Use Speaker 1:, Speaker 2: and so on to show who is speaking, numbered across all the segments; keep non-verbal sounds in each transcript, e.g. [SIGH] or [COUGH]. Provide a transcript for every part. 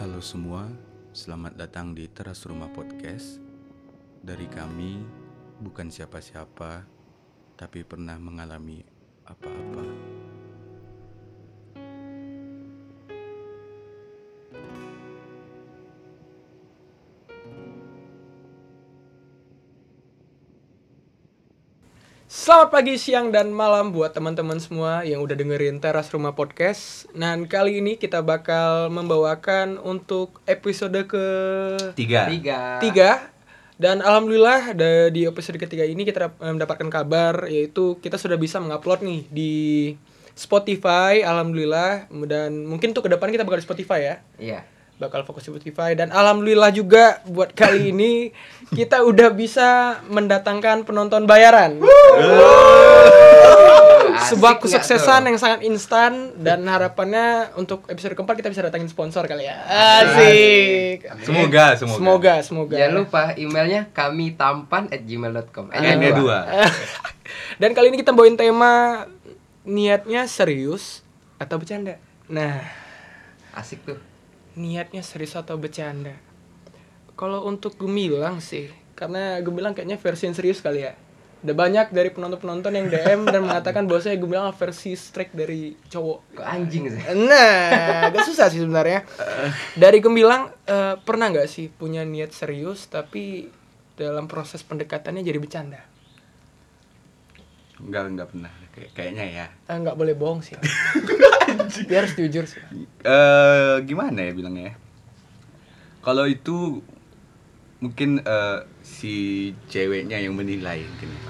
Speaker 1: Halo semua, selamat datang di Teras Rumah Podcast. Dari kami, bukan siapa-siapa, tapi pernah mengalami apa-apa.
Speaker 2: Selamat pagi, siang, dan malam buat teman-teman semua yang udah dengerin Teras Rumah Podcast. Dan kali ini kita bakal membawakan untuk episode ke
Speaker 3: tiga
Speaker 4: tiga
Speaker 2: tiga. Dan alhamdulillah da- di episode ketiga ini kita dap- mendapatkan kabar yaitu kita sudah bisa mengupload nih di Spotify, alhamdulillah. Dan mungkin tuh ke depan kita bakal di Spotify ya
Speaker 4: iya
Speaker 2: bakal fokus di Spotify dan alhamdulillah juga buat
Speaker 4: [LAUGHS]
Speaker 2: kali ini kita udah bisa mendatangkan penonton bayaran.
Speaker 4: Asik
Speaker 2: Sebuah
Speaker 4: nggak
Speaker 2: kesuksesan
Speaker 4: tuh?
Speaker 2: yang sangat instan dan harapannya untuk episode keempat kita bisa datangin sponsor kali ya. Asik.
Speaker 3: Semoga, semoga.
Speaker 2: Semoga, semoga.
Speaker 4: jangan lupa emailnya kami tampan at gmail.com
Speaker 3: Ada dua.
Speaker 2: [LAUGHS] dan kali ini kita bawain tema niatnya serius atau bercanda. Nah,
Speaker 4: asik tuh
Speaker 2: niatnya serius atau bercanda? Kalau untuk Gemilang sih, karena Gemilang kayaknya versi yang serius kali ya. Udah banyak dari penonton-penonton yang DM dan mengatakan bahwa saya Gemilang versi strike dari cowok.
Speaker 4: kok anjing sih
Speaker 2: Nah, agak susah sih sebenarnya. Dari Gemilang eh, pernah nggak sih punya niat serius tapi dalam proses pendekatannya jadi bercanda?
Speaker 1: Enggak, enggak pernah. Kayak- kayaknya ya.
Speaker 2: Eh, Nggak boleh bohong [LAUGHS] sih. Dia harus jujur sih.
Speaker 3: Eh, gimana ya bilangnya? ya? Kalau itu mungkin eh, si ceweknya yang menilai mungkin. ya.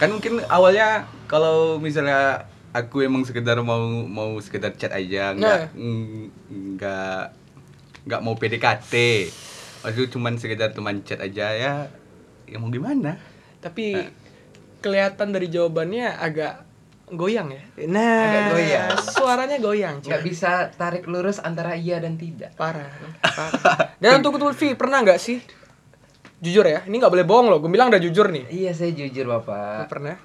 Speaker 3: Kan mungkin awalnya kalau misalnya aku emang sekedar mau mau sekedar chat aja,
Speaker 2: Nah.
Speaker 3: nggak ng- nggak nggak mau PDKT. Waktu itu cuman sekedar teman chat aja ya. Ya mau gimana?
Speaker 2: Tapi kelihatan dari jawabannya agak goyang ya. Nah,
Speaker 4: Agak goyang.
Speaker 2: suaranya goyang. cuy.
Speaker 4: nggak bisa tarik lurus antara iya dan tidak
Speaker 2: Parah. Parah. Dan untuk Lutfi, pernah nggak sih? Jujur ya, ini nggak boleh bohong loh. Gue bilang udah jujur nih.
Speaker 4: iya saya jujur bapak
Speaker 2: Pernah.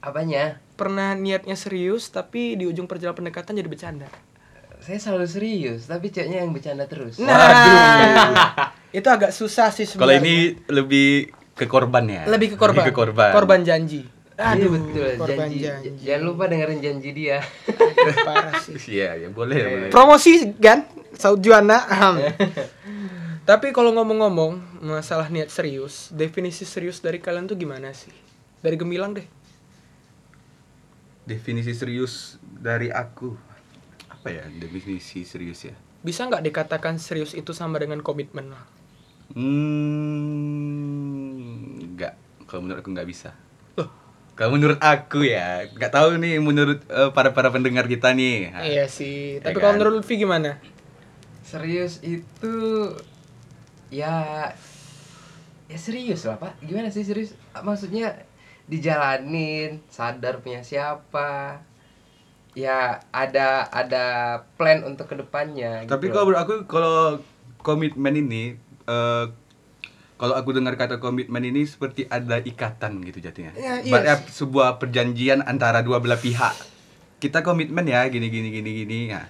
Speaker 4: apanya
Speaker 2: Pernah niatnya serius, tapi di ujung perjalanan pendekatan jadi bercanda.
Speaker 4: saya selalu serius tapi ceweknya yang bercanda terus
Speaker 2: Nah, itu agak susah sih
Speaker 3: Kalau
Speaker 2: sebenarnya.
Speaker 3: ini lebih ke korban ya.
Speaker 2: lebih ke korban.
Speaker 3: Lebih ke korban.
Speaker 2: janji. Aduh,
Speaker 4: Aduh, Iya, betul
Speaker 2: korban
Speaker 4: janji,
Speaker 2: janji.
Speaker 4: Jangan lupa dengerin janji dia.
Speaker 2: Parah sih.
Speaker 3: Iya, ya boleh, boleh.
Speaker 2: promosi kan Saud Juana Aham. [LAUGHS] tapi kalau ngomong-ngomong masalah niat serius definisi serius dari kalian tuh gimana sih dari gemilang deh
Speaker 3: Definisi serius dari aku. Apa ya definisi serius ya?
Speaker 2: bisa nggak dikatakan serius itu sama dengan komitmen
Speaker 3: Nah,
Speaker 2: lah
Speaker 3: Hmm, enggak. Kalau menurut aku nggak bisa.
Speaker 2: Loh.
Speaker 3: Kalau menurut aku ya, nggak tahu nih menurut eh, para para pendengar kita nih. Ah,
Speaker 2: iya sih
Speaker 3: Ya
Speaker 2: tapi
Speaker 3: kan?
Speaker 2: kalau menurut Lutfi gimana
Speaker 4: Serius itu ya ya serius lah pak. Gimana sih serius? Maksudnya dijalanin, sadar punya siapa. Ya ada ada plan untuk kedepannya.
Speaker 3: Tapi
Speaker 4: gitu
Speaker 3: kalau
Speaker 4: loh.
Speaker 3: menurut aku kalau komitmen ini eh, kalau aku dengar kata komitmen ini seperti ada ikatan gitu jatuhnya.
Speaker 2: Ya, iya
Speaker 3: Ba- sebuah perjanjian antara dua belah pihak. Kita komitmen ya gini gini gini gini. Nah,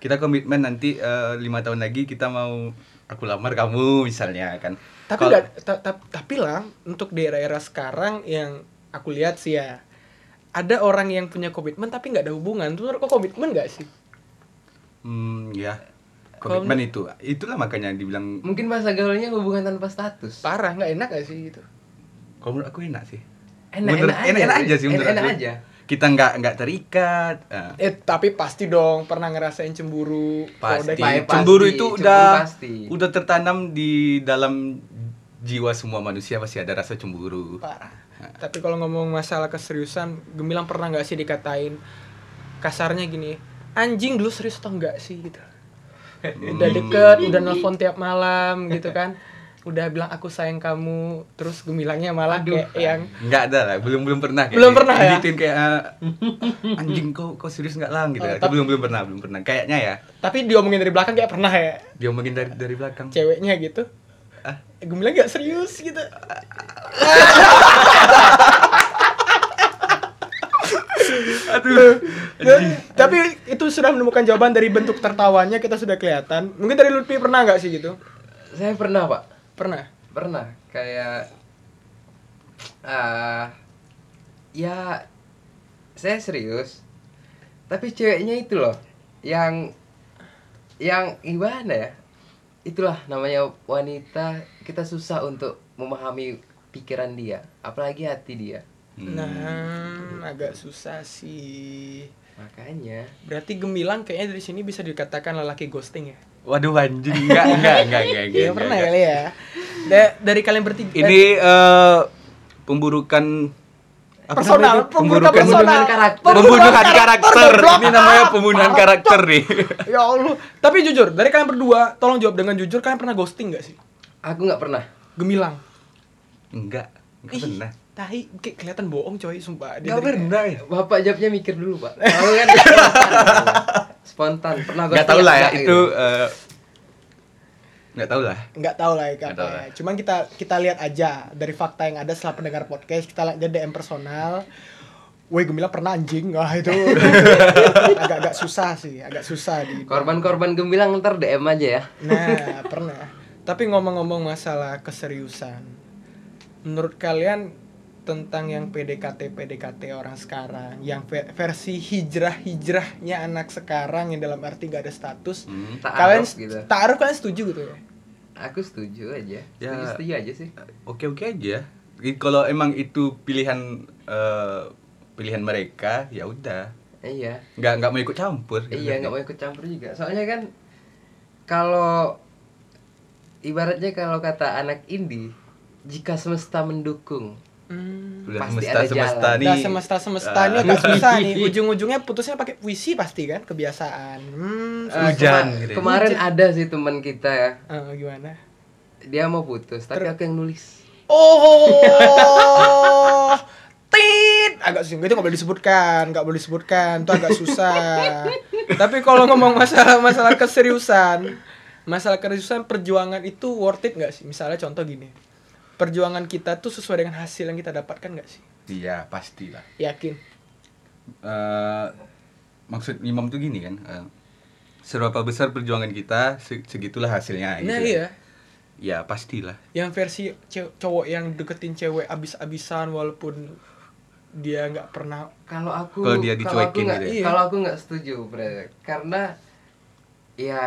Speaker 3: kita komitmen nanti eh, lima tahun lagi kita mau aku lamar kamu misalnya kan.
Speaker 2: tapi
Speaker 3: Kalau-
Speaker 2: nggak- ta- ta- tapi lah untuk di era-era sekarang yang aku lihat sih ya ada orang yang punya komitmen tapi nggak ada hubungan tuh kok komitmen nggak sih
Speaker 3: Hmm, ya.
Speaker 2: Kalau-
Speaker 3: Komitmen itu. Itulah makanya dibilang "Hmm,
Speaker 4: mungkin bahasa gaulnya hubungan tanpa status.
Speaker 2: parah nggak enak nggak sih gitu? itu
Speaker 3: kalau menurut aku enak sih.
Speaker 4: Enak,
Speaker 3: Menurut-
Speaker 4: enak aja sih.
Speaker 3: aja sih menurut
Speaker 4: Enak-
Speaker 3: aku.
Speaker 4: enak aja.
Speaker 3: Kita nggak nggak terikat. ah.
Speaker 2: Eh tapi pasti dong pernah ngerasain cemburu. Kalau
Speaker 3: pasti.
Speaker 2: udah kayak-
Speaker 4: pasti,
Speaker 3: cemburu itu
Speaker 4: cemburu
Speaker 3: udah
Speaker 4: pasti.
Speaker 3: udah tertanam di dalam jiwa semua manusia pasti ada rasa cemburu.
Speaker 2: parah. Tapi kalau ngomong masalah keseriusan, Gemilang pernah nggak sih dikatain kasarnya gini, anjing dulu serius atau enggak sih gitu.
Speaker 3: Hmm.
Speaker 2: Udah deket, udah nelfon tiap malam gitu kan. Udah bilang aku sayang kamu, terus Gemilangnya malah kayak yang
Speaker 3: Nggak ada lah, belum belum pernah kayak
Speaker 2: Belum
Speaker 3: di-
Speaker 2: pernah ya?
Speaker 3: digituin kayak
Speaker 2: [LAUGHS]
Speaker 3: ah, anjing kau kau serius nggak lang gitu.
Speaker 2: Oh,
Speaker 3: ya.
Speaker 2: tapi-
Speaker 3: belum belum pernah, belum pernah. Kayaknya ya
Speaker 2: tapi diomongin dari belakang kayak pernah ya
Speaker 3: dia mungkin dari dari belakang.
Speaker 2: ceweknya gitu.
Speaker 3: Ah.
Speaker 2: Gemilang nggak serius gitu.
Speaker 3: Aduh.
Speaker 2: Dan- tapi itu sudah menemukan jawaban dari bentuk tertawanya kita sudah kelihatan. Mungkin dari Lutfi pernah nggak sih gitu?
Speaker 4: Saya pernah pak,
Speaker 2: Pernah.
Speaker 4: pernah kayak ah ya saya serius, tapi ceweknya itu loh yang yang gimana ya? Itulah namanya wanita kita susah untuk memahami pikiran dia, apalagi hati dia.
Speaker 3: Hmm.
Speaker 2: Nah, agak susah sih.
Speaker 4: Makanya
Speaker 2: Berarti Gemilang kayaknya dari sini bisa dikatakan lelaki ghosting ya?
Speaker 3: Waduh anjing, enggak enggak enggak
Speaker 2: [LAUGHS]
Speaker 3: enggak. enggak,
Speaker 2: Iya
Speaker 3: enggak,
Speaker 2: pernah
Speaker 3: enggak.
Speaker 2: kali ya. Da- dari kalian bertiga.
Speaker 3: Ini eh, pemburukan apa
Speaker 2: Personal,
Speaker 3: namanya itu?
Speaker 2: pemburukan
Speaker 4: pembunuhan
Speaker 2: personal.
Speaker 4: karakter.
Speaker 3: pembunuhan karakter.
Speaker 2: goblok.
Speaker 3: Ini namanya pembunuhan karakter nih.
Speaker 2: [LAUGHS] Ya Allah. Tapi jujur, dari kalian berdua, tolong jawab dengan jujur, kalian pernah ghosting nggak sih?
Speaker 4: aku nggak pernah.
Speaker 2: Gemilang.
Speaker 3: Enggak, enggak
Speaker 2: Ih,
Speaker 3: pernah.
Speaker 2: Tahi, kayak kelihatan bohong coy, sumpah. Dia
Speaker 3: Enggak
Speaker 2: dari-
Speaker 3: pernah ya.
Speaker 4: Bapak jawabnya mikir dulu pak. Kamu
Speaker 3: [LAUGHS]
Speaker 4: kan spontan, spontan. pernah
Speaker 3: Enggak
Speaker 4: ghosting
Speaker 3: tahu lah ya
Speaker 4: nggak,
Speaker 3: itu
Speaker 4: gitu?
Speaker 3: eh, enggak tahu lah.
Speaker 2: nggak tahu lah ya
Speaker 3: Nggak
Speaker 2: apa
Speaker 3: tahu
Speaker 2: ya.
Speaker 3: lah.
Speaker 2: Cuman kita kita lihat aja dari fakta yang ada setelah pendengar podcast kita lihat dia DM personal. Woi Gemilang pernah anjing, wah itu agak-agak susah sih, agak susah di
Speaker 4: Korban-korban gemilang ntar DM aja ya.
Speaker 2: Nah pernah. Tapi ngomong-ngomong masalah keseriusan, menurut kalian tentang yang PDKT PDKT orang sekarang, yang ve- versi hijrah hijrahnya anak sekarang yang dalam arti gak ada status,
Speaker 3: Hmm.
Speaker 4: Tak
Speaker 2: kalian
Speaker 4: aruf gitu.
Speaker 2: taruh kalian setuju gitu ya?
Speaker 4: Aku setuju aja.
Speaker 3: Ya.
Speaker 4: Setuju, setuju aja sih.
Speaker 3: oke-oke aja. I- Kalau emang itu pilihan eh, pilihan mereka, ya udah.
Speaker 4: Iya.
Speaker 3: Nggak nggak mau ikut campur.
Speaker 4: iya nggak mau ikut campur juga. Soalnya kan kalau ibaratnya kalau kata anak indie, jika semesta mendukung,
Speaker 2: Hmm.
Speaker 3: Udah
Speaker 4: Pasti
Speaker 3: semesta
Speaker 4: ada
Speaker 3: semesta
Speaker 4: jalan.
Speaker 3: nih.
Speaker 2: Udah semesta semesta ini
Speaker 3: Ah.
Speaker 2: agak susah nih ujung-ujungnya putusnya pakai puisi pasti kan kebiasaan. Hmm,
Speaker 4: Eh,
Speaker 3: Hujan
Speaker 4: kema-
Speaker 3: gitu ya.
Speaker 4: Kemarin ada sih teman kita ya,
Speaker 2: eh, gimana?
Speaker 4: dia mau putus, tapi
Speaker 2: Ter-
Speaker 4: aku yang nulis.
Speaker 2: Oh, tit. Agak susah itu nggak boleh disebutkan, nggak boleh disebutkan. Itu agak susah. Tapi kalau ngomong masalah masalah keseriusan, masalah keseriusan perjuangan itu worth it nggak sih? Misalnya contoh gini, perjuangan kita tuh sesuai dengan hasil yang kita dapatkan nggak sih?
Speaker 3: Iya, pastilah.
Speaker 2: Yakin?
Speaker 3: Eh, maksud Imam tuh gini kan. eh, seberapa besar perjuangan kita, se- segitulah hasilnya gitu.
Speaker 2: Nah
Speaker 3: ya.
Speaker 2: iya.
Speaker 3: Ya, pastilah.
Speaker 2: yang versi ce- cowok yang deketin cewek abis-abisan walaupun dia nggak pernah
Speaker 4: Kalau aku
Speaker 3: Kalau dia
Speaker 4: kalau aku
Speaker 3: dicuekin
Speaker 4: nggak- Iya.
Speaker 3: gitu
Speaker 2: ya?
Speaker 4: Kalau aku nggak setuju, Bre. Karena ya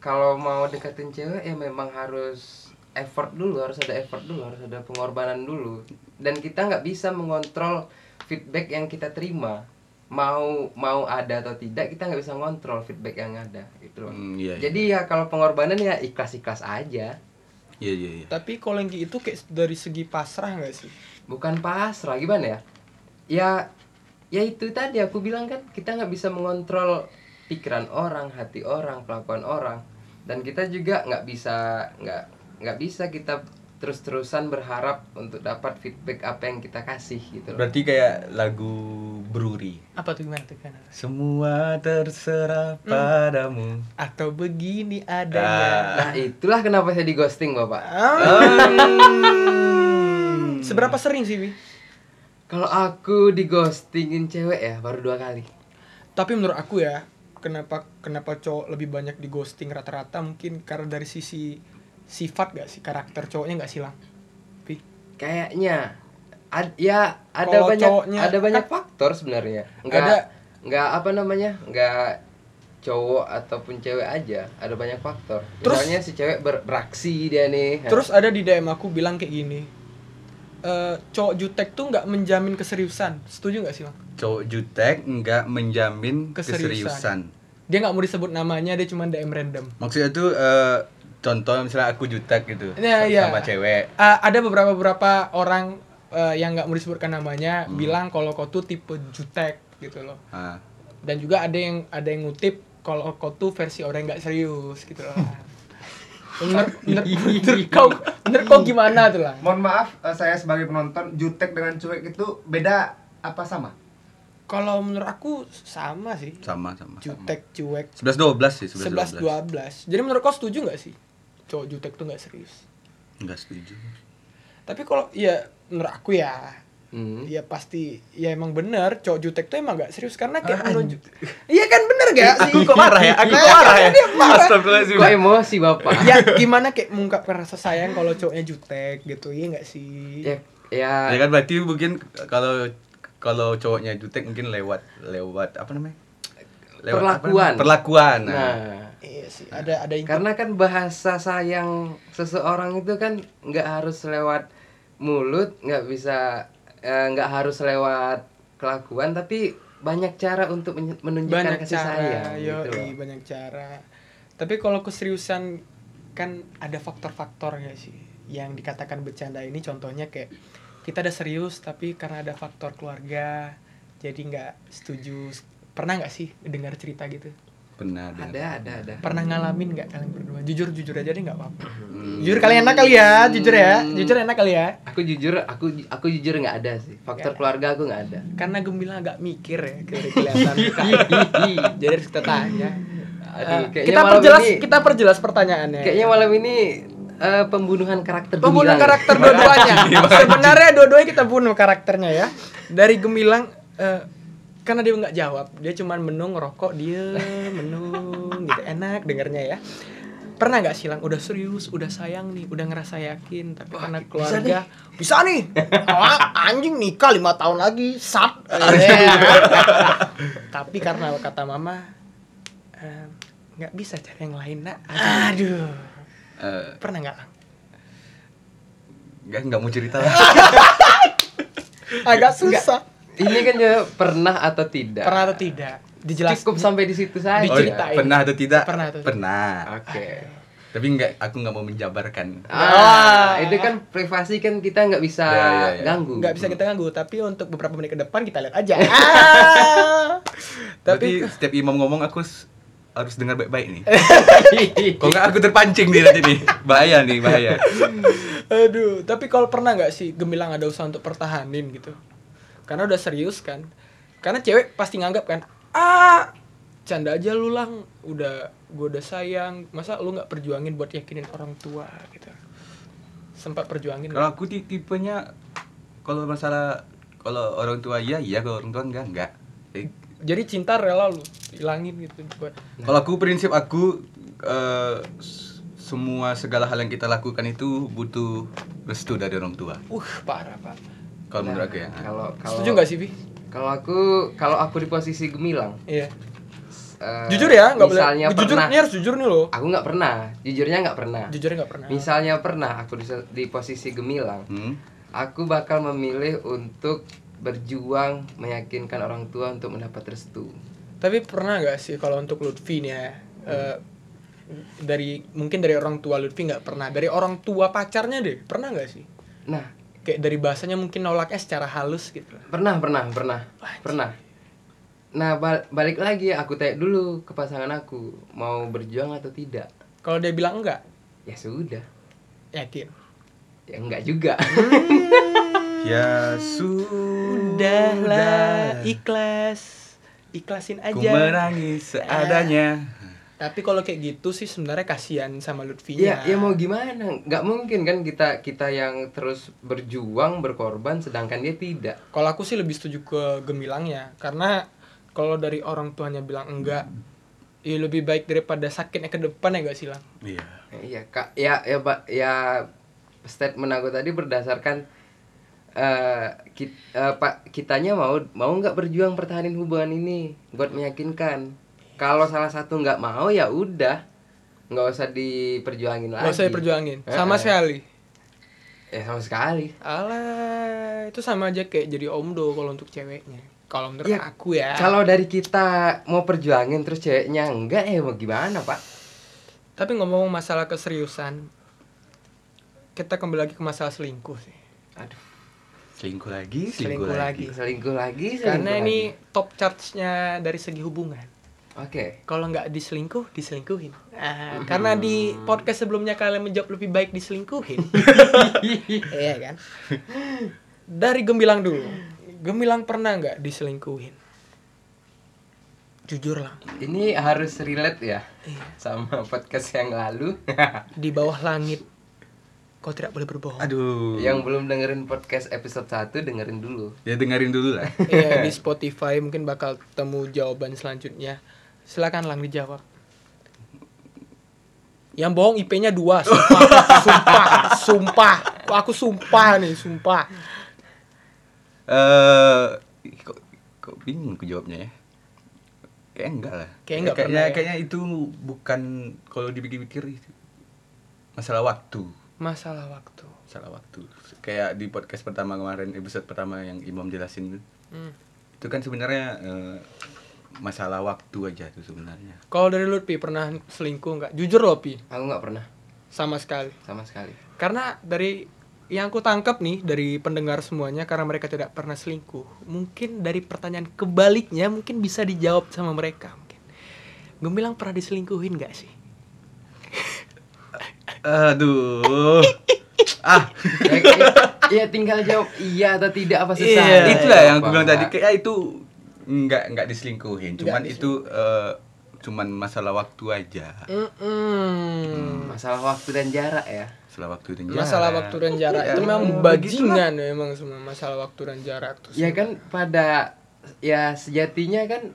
Speaker 4: kalau mau deketin cewek ya memang harus effort dulu, harus ada effort dulu, harus ada pengorbanan dulu. Dan kita nggak bisa mengontrol feedback yang kita terima. Mau mau ada atau tidak kita nggak bisa ngontrol feedback yang ada gitu loh.
Speaker 3: Hmm, iya, iya.
Speaker 4: Jadi ya kalau pengorbanan ya ikhlas-ikhlas aja.
Speaker 3: Iya, iya, iya.
Speaker 2: tapi kalau yang gitu kayak dari segi pasrah nggak sih
Speaker 4: bukan pasrah gimana ya ya ya itu tadi aku bilang kan kita nggak bisa mengontrol pikiran orang hati orang kelakuan orang dan kita juga nggak bisa nggak nggak bisa kita terus terusan berharap untuk dapat feedback apa yang kita kasih gitu loh.
Speaker 3: Berarti kayak lagu Bruri.
Speaker 2: apa tuh gimana tuh kan
Speaker 3: Semua terserah padamu.
Speaker 2: atau begini adanya
Speaker 4: nah itulah kenapa saya di ghosting bapak
Speaker 2: Hmm. Ah, seberapa sering sih Wi?
Speaker 4: kalau aku di ghostingin cewek ya baru dua kali
Speaker 2: tapi menurut aku ya kenapa kenapa cowok lebih banyak di ghosting rata-rata mungkin karena dari sisi sifat gak sih karakter cowoknya nggak silang Wi?
Speaker 4: kayaknya ad- ya ada
Speaker 2: Kalau
Speaker 4: banyak
Speaker 2: cowoknya- kan
Speaker 4: ada banyak faktor sebenarnya nggak
Speaker 2: Ada.
Speaker 4: nggak apa namanya nggak cowok ataupun cewek aja ada banyak faktor
Speaker 2: Terus-
Speaker 4: misalnya si cewek ber- beraksi dia nih
Speaker 2: Terus ada di DM aku bilang kayak gini. Eh cowok jutek tuh nggak menjamin keseriusan. Setuju nggak sih, Bang?
Speaker 3: Cowok jutek nggak menjamin
Speaker 2: Keseriusan.
Speaker 3: keseriusan.
Speaker 2: Dia nggak mau disebut namanya, dia cuma DM random.
Speaker 3: Maksudnya tuh eh, contoh misalnya aku jutek gitu
Speaker 2: Iya,
Speaker 3: sama-
Speaker 2: iya.
Speaker 3: sama cewek.
Speaker 2: Ah, ada beberapa beberapa orang eh, yang nggak mau disebutkan namanya
Speaker 5: Hmm.
Speaker 2: bilang kalau kau tuh tipe jutek gitu loh.
Speaker 3: Ah.
Speaker 2: Dan juga ada yang ada yang ngutip kalau kau tuh versi orang yang nggak serius
Speaker 5: [LAUGHS]
Speaker 2: gitu loh. Menurut menurut- menurut kau menurut kau gimana tuh lah?
Speaker 5: Mohon maaf, eh, saya sebagai penonton, jutek dengan cuek itu beda apa sama?
Speaker 2: Kalau menurut aku sama sih.
Speaker 3: sama sama.
Speaker 2: Jutek, cuek,
Speaker 3: 11 12 sih, 11
Speaker 2: 11 12. Jadi menurut kau setuju nggak sih? Cowok jutek tuh nggak serius.
Speaker 3: Enggak setuju.
Speaker 2: Tapi kalau ya iya, menurut aku ya
Speaker 4: Hmm.
Speaker 2: ya pasti ya emang bener cowok jutek tuh emang gak serius karena kayak
Speaker 3: Ah,
Speaker 2: menunjuk iya kan bener gak sih
Speaker 3: Aku kok marah ya? Aku kok
Speaker 2: Iya,
Speaker 3: marah ya?
Speaker 2: karena dia marah.
Speaker 4: Kok
Speaker 3: Astagfirullahaladzim.
Speaker 4: emosi bapak?
Speaker 2: ya gimana kayak mengungkapkan rasa sayang kalau cowoknya jutek gitu iya gak sih
Speaker 4: ya, ya,
Speaker 3: Ya kan berarti mungkin kalau kalau cowoknya jutek mungkin lewat lewat apa namanya? apa
Speaker 4: Perlakuan.
Speaker 3: namanya? Perlakuan. Nah.
Speaker 4: Nah,
Speaker 2: iya sih ada ada yang
Speaker 4: karena kan bahasa sayang seseorang itu kan nggak harus lewat mulut, nggak bisa, eh, nggak harus lewat kelakuan, tapi banyak cara untuk menye- menunjukkan
Speaker 2: banyak
Speaker 4: kasih sayang.
Speaker 2: cara yo
Speaker 4: gitu loh.
Speaker 2: banyak cara tapi kalau keseriusan kan ada faktor-faktor nggak sih yang dikatakan bercanda ini contohnya kayak kita ada serius tapi karena ada faktor keluarga jadi nggak setuju pernah nggak sih dengar cerita gitu
Speaker 3: Benar. benar.
Speaker 4: Ada, ada, ada.
Speaker 2: pernah ngalamin nggak kalian berdua jujur jujur aja deh nggak apa-apa
Speaker 3: Hmm.
Speaker 2: jujur kalian enak kali ya jujur ya jujur enak kali ya
Speaker 4: Aku jujur, aku aku jujur nggak ada sih. Faktor keluarga aku nggak ada.
Speaker 2: Iya. karena gembila agak mikir ya keli-
Speaker 4: [LAUGHS]
Speaker 2: kelihatan jadi harus kita tanya
Speaker 4: Iya. Aduh,
Speaker 2: Eh,
Speaker 4: kayaknya
Speaker 2: kita
Speaker 4: malam
Speaker 2: perjelas
Speaker 4: ini-
Speaker 2: kita perjelas pertanyaannya
Speaker 4: Kayaknya malam ini eh, pembunuhan karakter
Speaker 2: Pembunuh
Speaker 4: gemilang.
Speaker 2: karakter dua-duanya. Sebenarnya dua-duanya kita bunuh karakternya ya. Dari Gemilang eh, karena dia nggak jawab, dia cuman menung rokok dia menung gitu enak dengarnya ya. Pernah nggak silang udah serius, udah sayang nih, udah ngerasa yakin tapi karena keluarga bisa [LAUGHS] nih. Ah, anjing nikah lima tahun lagi, sap. [LAUGHS] Eh, tapi karena kata mama eh, nggak bisa cari yang lain nak. Aduh.
Speaker 3: Eh,
Speaker 2: Pernah nggak? Lang?
Speaker 3: nggak nggak mau
Speaker 2: [LAUGHS]
Speaker 3: cerita lah.
Speaker 2: Agak susah.
Speaker 4: Ini kan ya pernah atau tidak?
Speaker 2: pernah atau tidak dijelas
Speaker 4: Cukup sampai di situ saja.
Speaker 3: Oh,
Speaker 2: Diceritain.
Speaker 3: pernah atau tidak?
Speaker 2: Pernah atau tidak? Ah.
Speaker 3: Pernah.
Speaker 4: Oke.
Speaker 3: Tapi nggak aku nggak mau menjabarkan.
Speaker 4: Ah, itu kan privasi kan kita nggak bisa
Speaker 3: Ya, ya, ya.
Speaker 4: ganggu.
Speaker 2: nggak bisa kita ganggu tapi untuk beberapa menit ke depan kita lihat aja Ah.
Speaker 3: Tapi
Speaker 2: tapi
Speaker 3: setiap imam ngomong aku s- harus dengar baik-baik nih.
Speaker 2: Eh,
Speaker 3: Kalau
Speaker 2: iya.
Speaker 3: nggak aku terpancing nih nanti
Speaker 2: [LAUGHS]
Speaker 3: nih. Bahaya nih, bahaya.
Speaker 2: aduh tapi kalau pernah nggak sih gemilang ada usaha untuk pertahanin gitu karena udah serius kan karena cewek pasti nganggap kan ah canda aja lu lang udah gue udah sayang masa lu nggak perjuangin buat yakinin orang tua gitu sempat perjuangin
Speaker 3: Kalau
Speaker 2: nggak?
Speaker 3: aku ti- tipenya kalau masalah kalau orang tua iya iya, kalau orang tua enggak enggak.
Speaker 2: Nah.
Speaker 3: Eh,
Speaker 2: jadi cinta rela lu hilangin gitu buat
Speaker 3: Kalau aku prinsip aku eh, s- semua segala hal yang kita lakukan itu butuh restu dari orang tua.
Speaker 2: uh parah pak
Speaker 3: Kalau menurut
Speaker 2: Nah.
Speaker 3: aku ya.
Speaker 4: Kalau kalau
Speaker 2: setuju nggak sih bi
Speaker 4: Kalau aku kalau aku di posisi gemilang.
Speaker 2: iya
Speaker 4: eh,
Speaker 2: jujur ya nggak boleh
Speaker 4: Misalnya
Speaker 2: jujur
Speaker 4: pernah.
Speaker 2: ini harus jujur nih loh
Speaker 4: Aku nggak pernah. Jujurnya nggak pernah.
Speaker 2: jujurnya nggak pernah
Speaker 4: Misalnya pernah aku di, di posisi gemilang.
Speaker 3: Hmm?
Speaker 4: Aku bakal memilih untuk berjuang meyakinkan orang tua untuk mendapat restu.
Speaker 2: tapi pernah nggak sih kalau untuk Lutfi nih ya eh, dari mungkin dari orang tua Lutfi nggak pernah dari orang tua pacarnya deh pernah nggak sih
Speaker 4: Nah,
Speaker 2: kayak dari bahasanya mungkin nolaknya secara halus gitu
Speaker 4: pernah pernah pernah pernah nah bal- balik lagi aku tanya dulu ke pasangan aku mau berjuang atau tidak
Speaker 2: kalau dia bilang enggak
Speaker 4: ya sudah
Speaker 2: yakin
Speaker 4: ya enggak juga
Speaker 3: Ya sudahlah.
Speaker 2: udahlah ikhlas ikhlasin
Speaker 3: Ku
Speaker 2: aja
Speaker 3: menangis seadanya.
Speaker 2: tapi kalau kayak gitu sih sebenarnya kasihan sama Lutfinya
Speaker 4: [LAUGHS] ya ya mau gimana nggak mungkin kan kita kita yang terus berjuang berkorban sedangkan dia tidak
Speaker 2: Kalau aku sih lebih setuju ke gemilangnya karena kalau dari orang tuanya bilang enggak,
Speaker 4: Hmm.
Speaker 2: ya lebih baik daripada sakitnya ke depan ya gak sih lang.
Speaker 3: Iya.
Speaker 4: Iya kak, ya ya Pak. ya statement aku tadi berdasarkan eh ki- eh, pak kitanya mau mau nggak berjuang pertahanin hubungan ini buat meyakinkan. Kalau salah satu nggak mau ya udah nggak usah diperjuangin lagi.
Speaker 2: Gak usah diperjuangin
Speaker 4: Eh,
Speaker 2: sama
Speaker 4: eh.
Speaker 2: sekali.
Speaker 4: Ya sama sekali.
Speaker 2: Alah itu sama aja kayak jadi omdo kalau untuk ceweknya. Kalau menurut
Speaker 4: Ya,
Speaker 2: aku ya.
Speaker 4: Kalau dari kita mau perjuangin terus ceweknya enggak ya mau gimana pak?
Speaker 2: Tapi ngomong masalah keseriusan, kita kembali lagi ke masalah selingkuh sih.
Speaker 4: Aduh
Speaker 3: Selingkuh lagi,
Speaker 2: Selingkuh,
Speaker 3: selingkuh, lagi.
Speaker 2: lagi.
Speaker 4: selingkuh lagi. Iya, Selingkuh
Speaker 2: Karena ini
Speaker 4: lagi.
Speaker 2: top charge-nya dari segi hubungan.
Speaker 4: Oke.
Speaker 2: kalau nggak diselingkuh diselingkuhin Ah, [LAUGHS] karena di podcast sebelumnya kalian menjawab lebih baik diselingkuhin iya kan dari gemilang dulu gemilang pernah nggak diselingkuhin jujur lah
Speaker 4: Ini harus relate ya
Speaker 2: Iya.
Speaker 3: [LAUGHS]
Speaker 4: sama podcast yang lalu.
Speaker 2: di bawah langit kau tidak boleh berbohong
Speaker 3: Aduh.
Speaker 4: Yang belum dengerin podcast episode 1 dengerin dulu.
Speaker 3: Ya dengerin dulu [LAUGHS] lah.
Speaker 2: Iya, di Spotify mungkin bakal temu jawaban selanjutnya silakan lang dijawab yang bohong IP-nya dua sumpah sumpah sumpah aku sumpah nih sumpah
Speaker 3: Eh, kok, kok bingung ku jawabnya ya? Kayaknya enggak lah.
Speaker 2: Kayaknya enggak
Speaker 3: kayaknya,
Speaker 2: pernah ya.
Speaker 3: kayaknya itu bukan kalau dipikir-pikir itu masalah waktu,
Speaker 2: masalah waktu
Speaker 3: masalah waktu. Kayak di podcast pertama kemarin, episode pertama yang Imam jelasin itu,
Speaker 2: Hmm.
Speaker 3: itu kan sebenarnya eh, masalah waktu aja tuh sebenarnya.
Speaker 2: kalau dari lu Pi pernah selingkuh nggak jujur loh Pi
Speaker 4: Aku nggak pernah
Speaker 2: sama sekali
Speaker 4: sama [LAUGHS] sekali.
Speaker 2: karena dari yang aku tangkap nih dari pendengar semuanya karena mereka tidak pernah selingkuh mungkin dari pertanyaan kebaliknya mungkin bisa dijawab sama mereka mungkin gue bilang pernah diselingkuhin nggak sih [LAUGHS]
Speaker 3: Aduh. ah,
Speaker 4: Ya, ya- ya tinggal jawab iya atau tidak apa susah.
Speaker 2: Iya,
Speaker 3: itulah yang aku
Speaker 4: Apa
Speaker 3: bilang tadi
Speaker 4: nggak?
Speaker 3: kayak itu nggak nggak diselingkuhin, cuman itu eh, cuman masalah waktu aja.
Speaker 2: Mm-mm.
Speaker 4: Masalah waktu dan jarak ya.
Speaker 3: Masalah waktu dan jarak.
Speaker 2: masalah waktu dan jarak
Speaker 3: Iya,
Speaker 2: itu memang
Speaker 3: begitulah.
Speaker 2: bajingan memang semua masalah waktu dan jarak tuh
Speaker 4: Ya kan pada ya sejatinya kan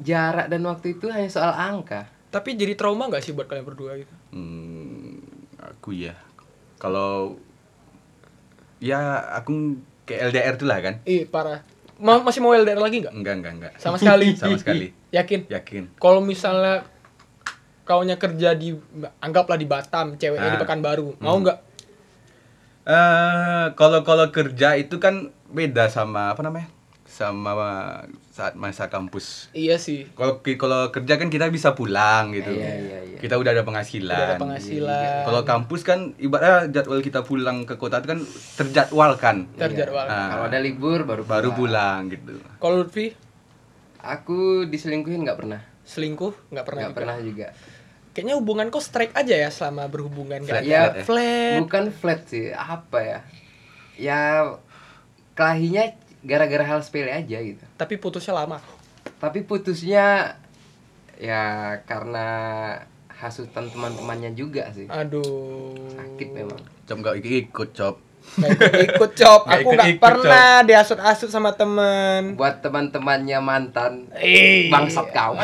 Speaker 4: jarak dan waktu itu hanya soal angka.
Speaker 2: tapi jadi trauma nggak sih buat kalian berdua gitu
Speaker 3: Hmm, aku ya. Kalau ya aku kayak LDR tuh lah kan.
Speaker 2: ih parah Ma- masih mau LDR lagi nggak
Speaker 3: Enggak, enggak, enggak.
Speaker 2: [LAUGHS] sama
Speaker 3: [LAUGHS]
Speaker 2: sekali Ya.
Speaker 3: Sama sekali.
Speaker 2: yakin
Speaker 3: Yakin.
Speaker 2: kalau misalnya kaunya kerja di anggaplah di Batam,
Speaker 3: Ah.
Speaker 2: ceweknya di Pekanbaru, mau nggak?
Speaker 3: Eh, kalau kalau kerja itu kan beda sama apa namanya? Sama saat masa kampus.
Speaker 2: Iya sih.
Speaker 3: Kalau kalau kerja kan kita bisa pulang gitu.
Speaker 4: Iya, iya, iya.
Speaker 3: Kita udah ada
Speaker 2: Udah ada
Speaker 3: penghasilan.
Speaker 2: penghasilan.
Speaker 3: Kalau kampus kan ibaratnya jadwal kita pulang ke kota itu kan terjadwalkan.
Speaker 2: terjadwal.
Speaker 3: Ah.
Speaker 4: Kalau ada libur baru
Speaker 3: Baru pulang gitu.
Speaker 2: Kalau Lutfi
Speaker 4: Aku diselingkuhin nggak pernah.
Speaker 2: selingkuh nggak pernah.
Speaker 4: Nggak
Speaker 2: juga.
Speaker 4: pernah juga.
Speaker 2: Kayaknya hubungan kau strike aja ya selama berhubungan nggak
Speaker 3: Flat,
Speaker 2: ada
Speaker 4: flat,
Speaker 3: eh.
Speaker 2: flat. ya.
Speaker 4: Bukan flat sih, apa ya? Ya kelahinya gara-gara hal sepele aja gitu.
Speaker 2: Tapi putusnya lama.
Speaker 4: Tapi putusnya ya karena hasutan teman-temannya juga sih.
Speaker 2: Aduh.
Speaker 4: Sakit memang.
Speaker 3: Cop nggak ikut, Cop.
Speaker 2: Nggak ikut, ikut cop.
Speaker 3: Nggak
Speaker 2: Aku
Speaker 3: ikut-
Speaker 2: nggak
Speaker 3: ikut,
Speaker 2: pernah diasut-asut sama temen.
Speaker 4: Buat teman-temannya mantan,
Speaker 2: Eh.
Speaker 4: bangsat
Speaker 2: [LAUGHS]
Speaker 4: kau.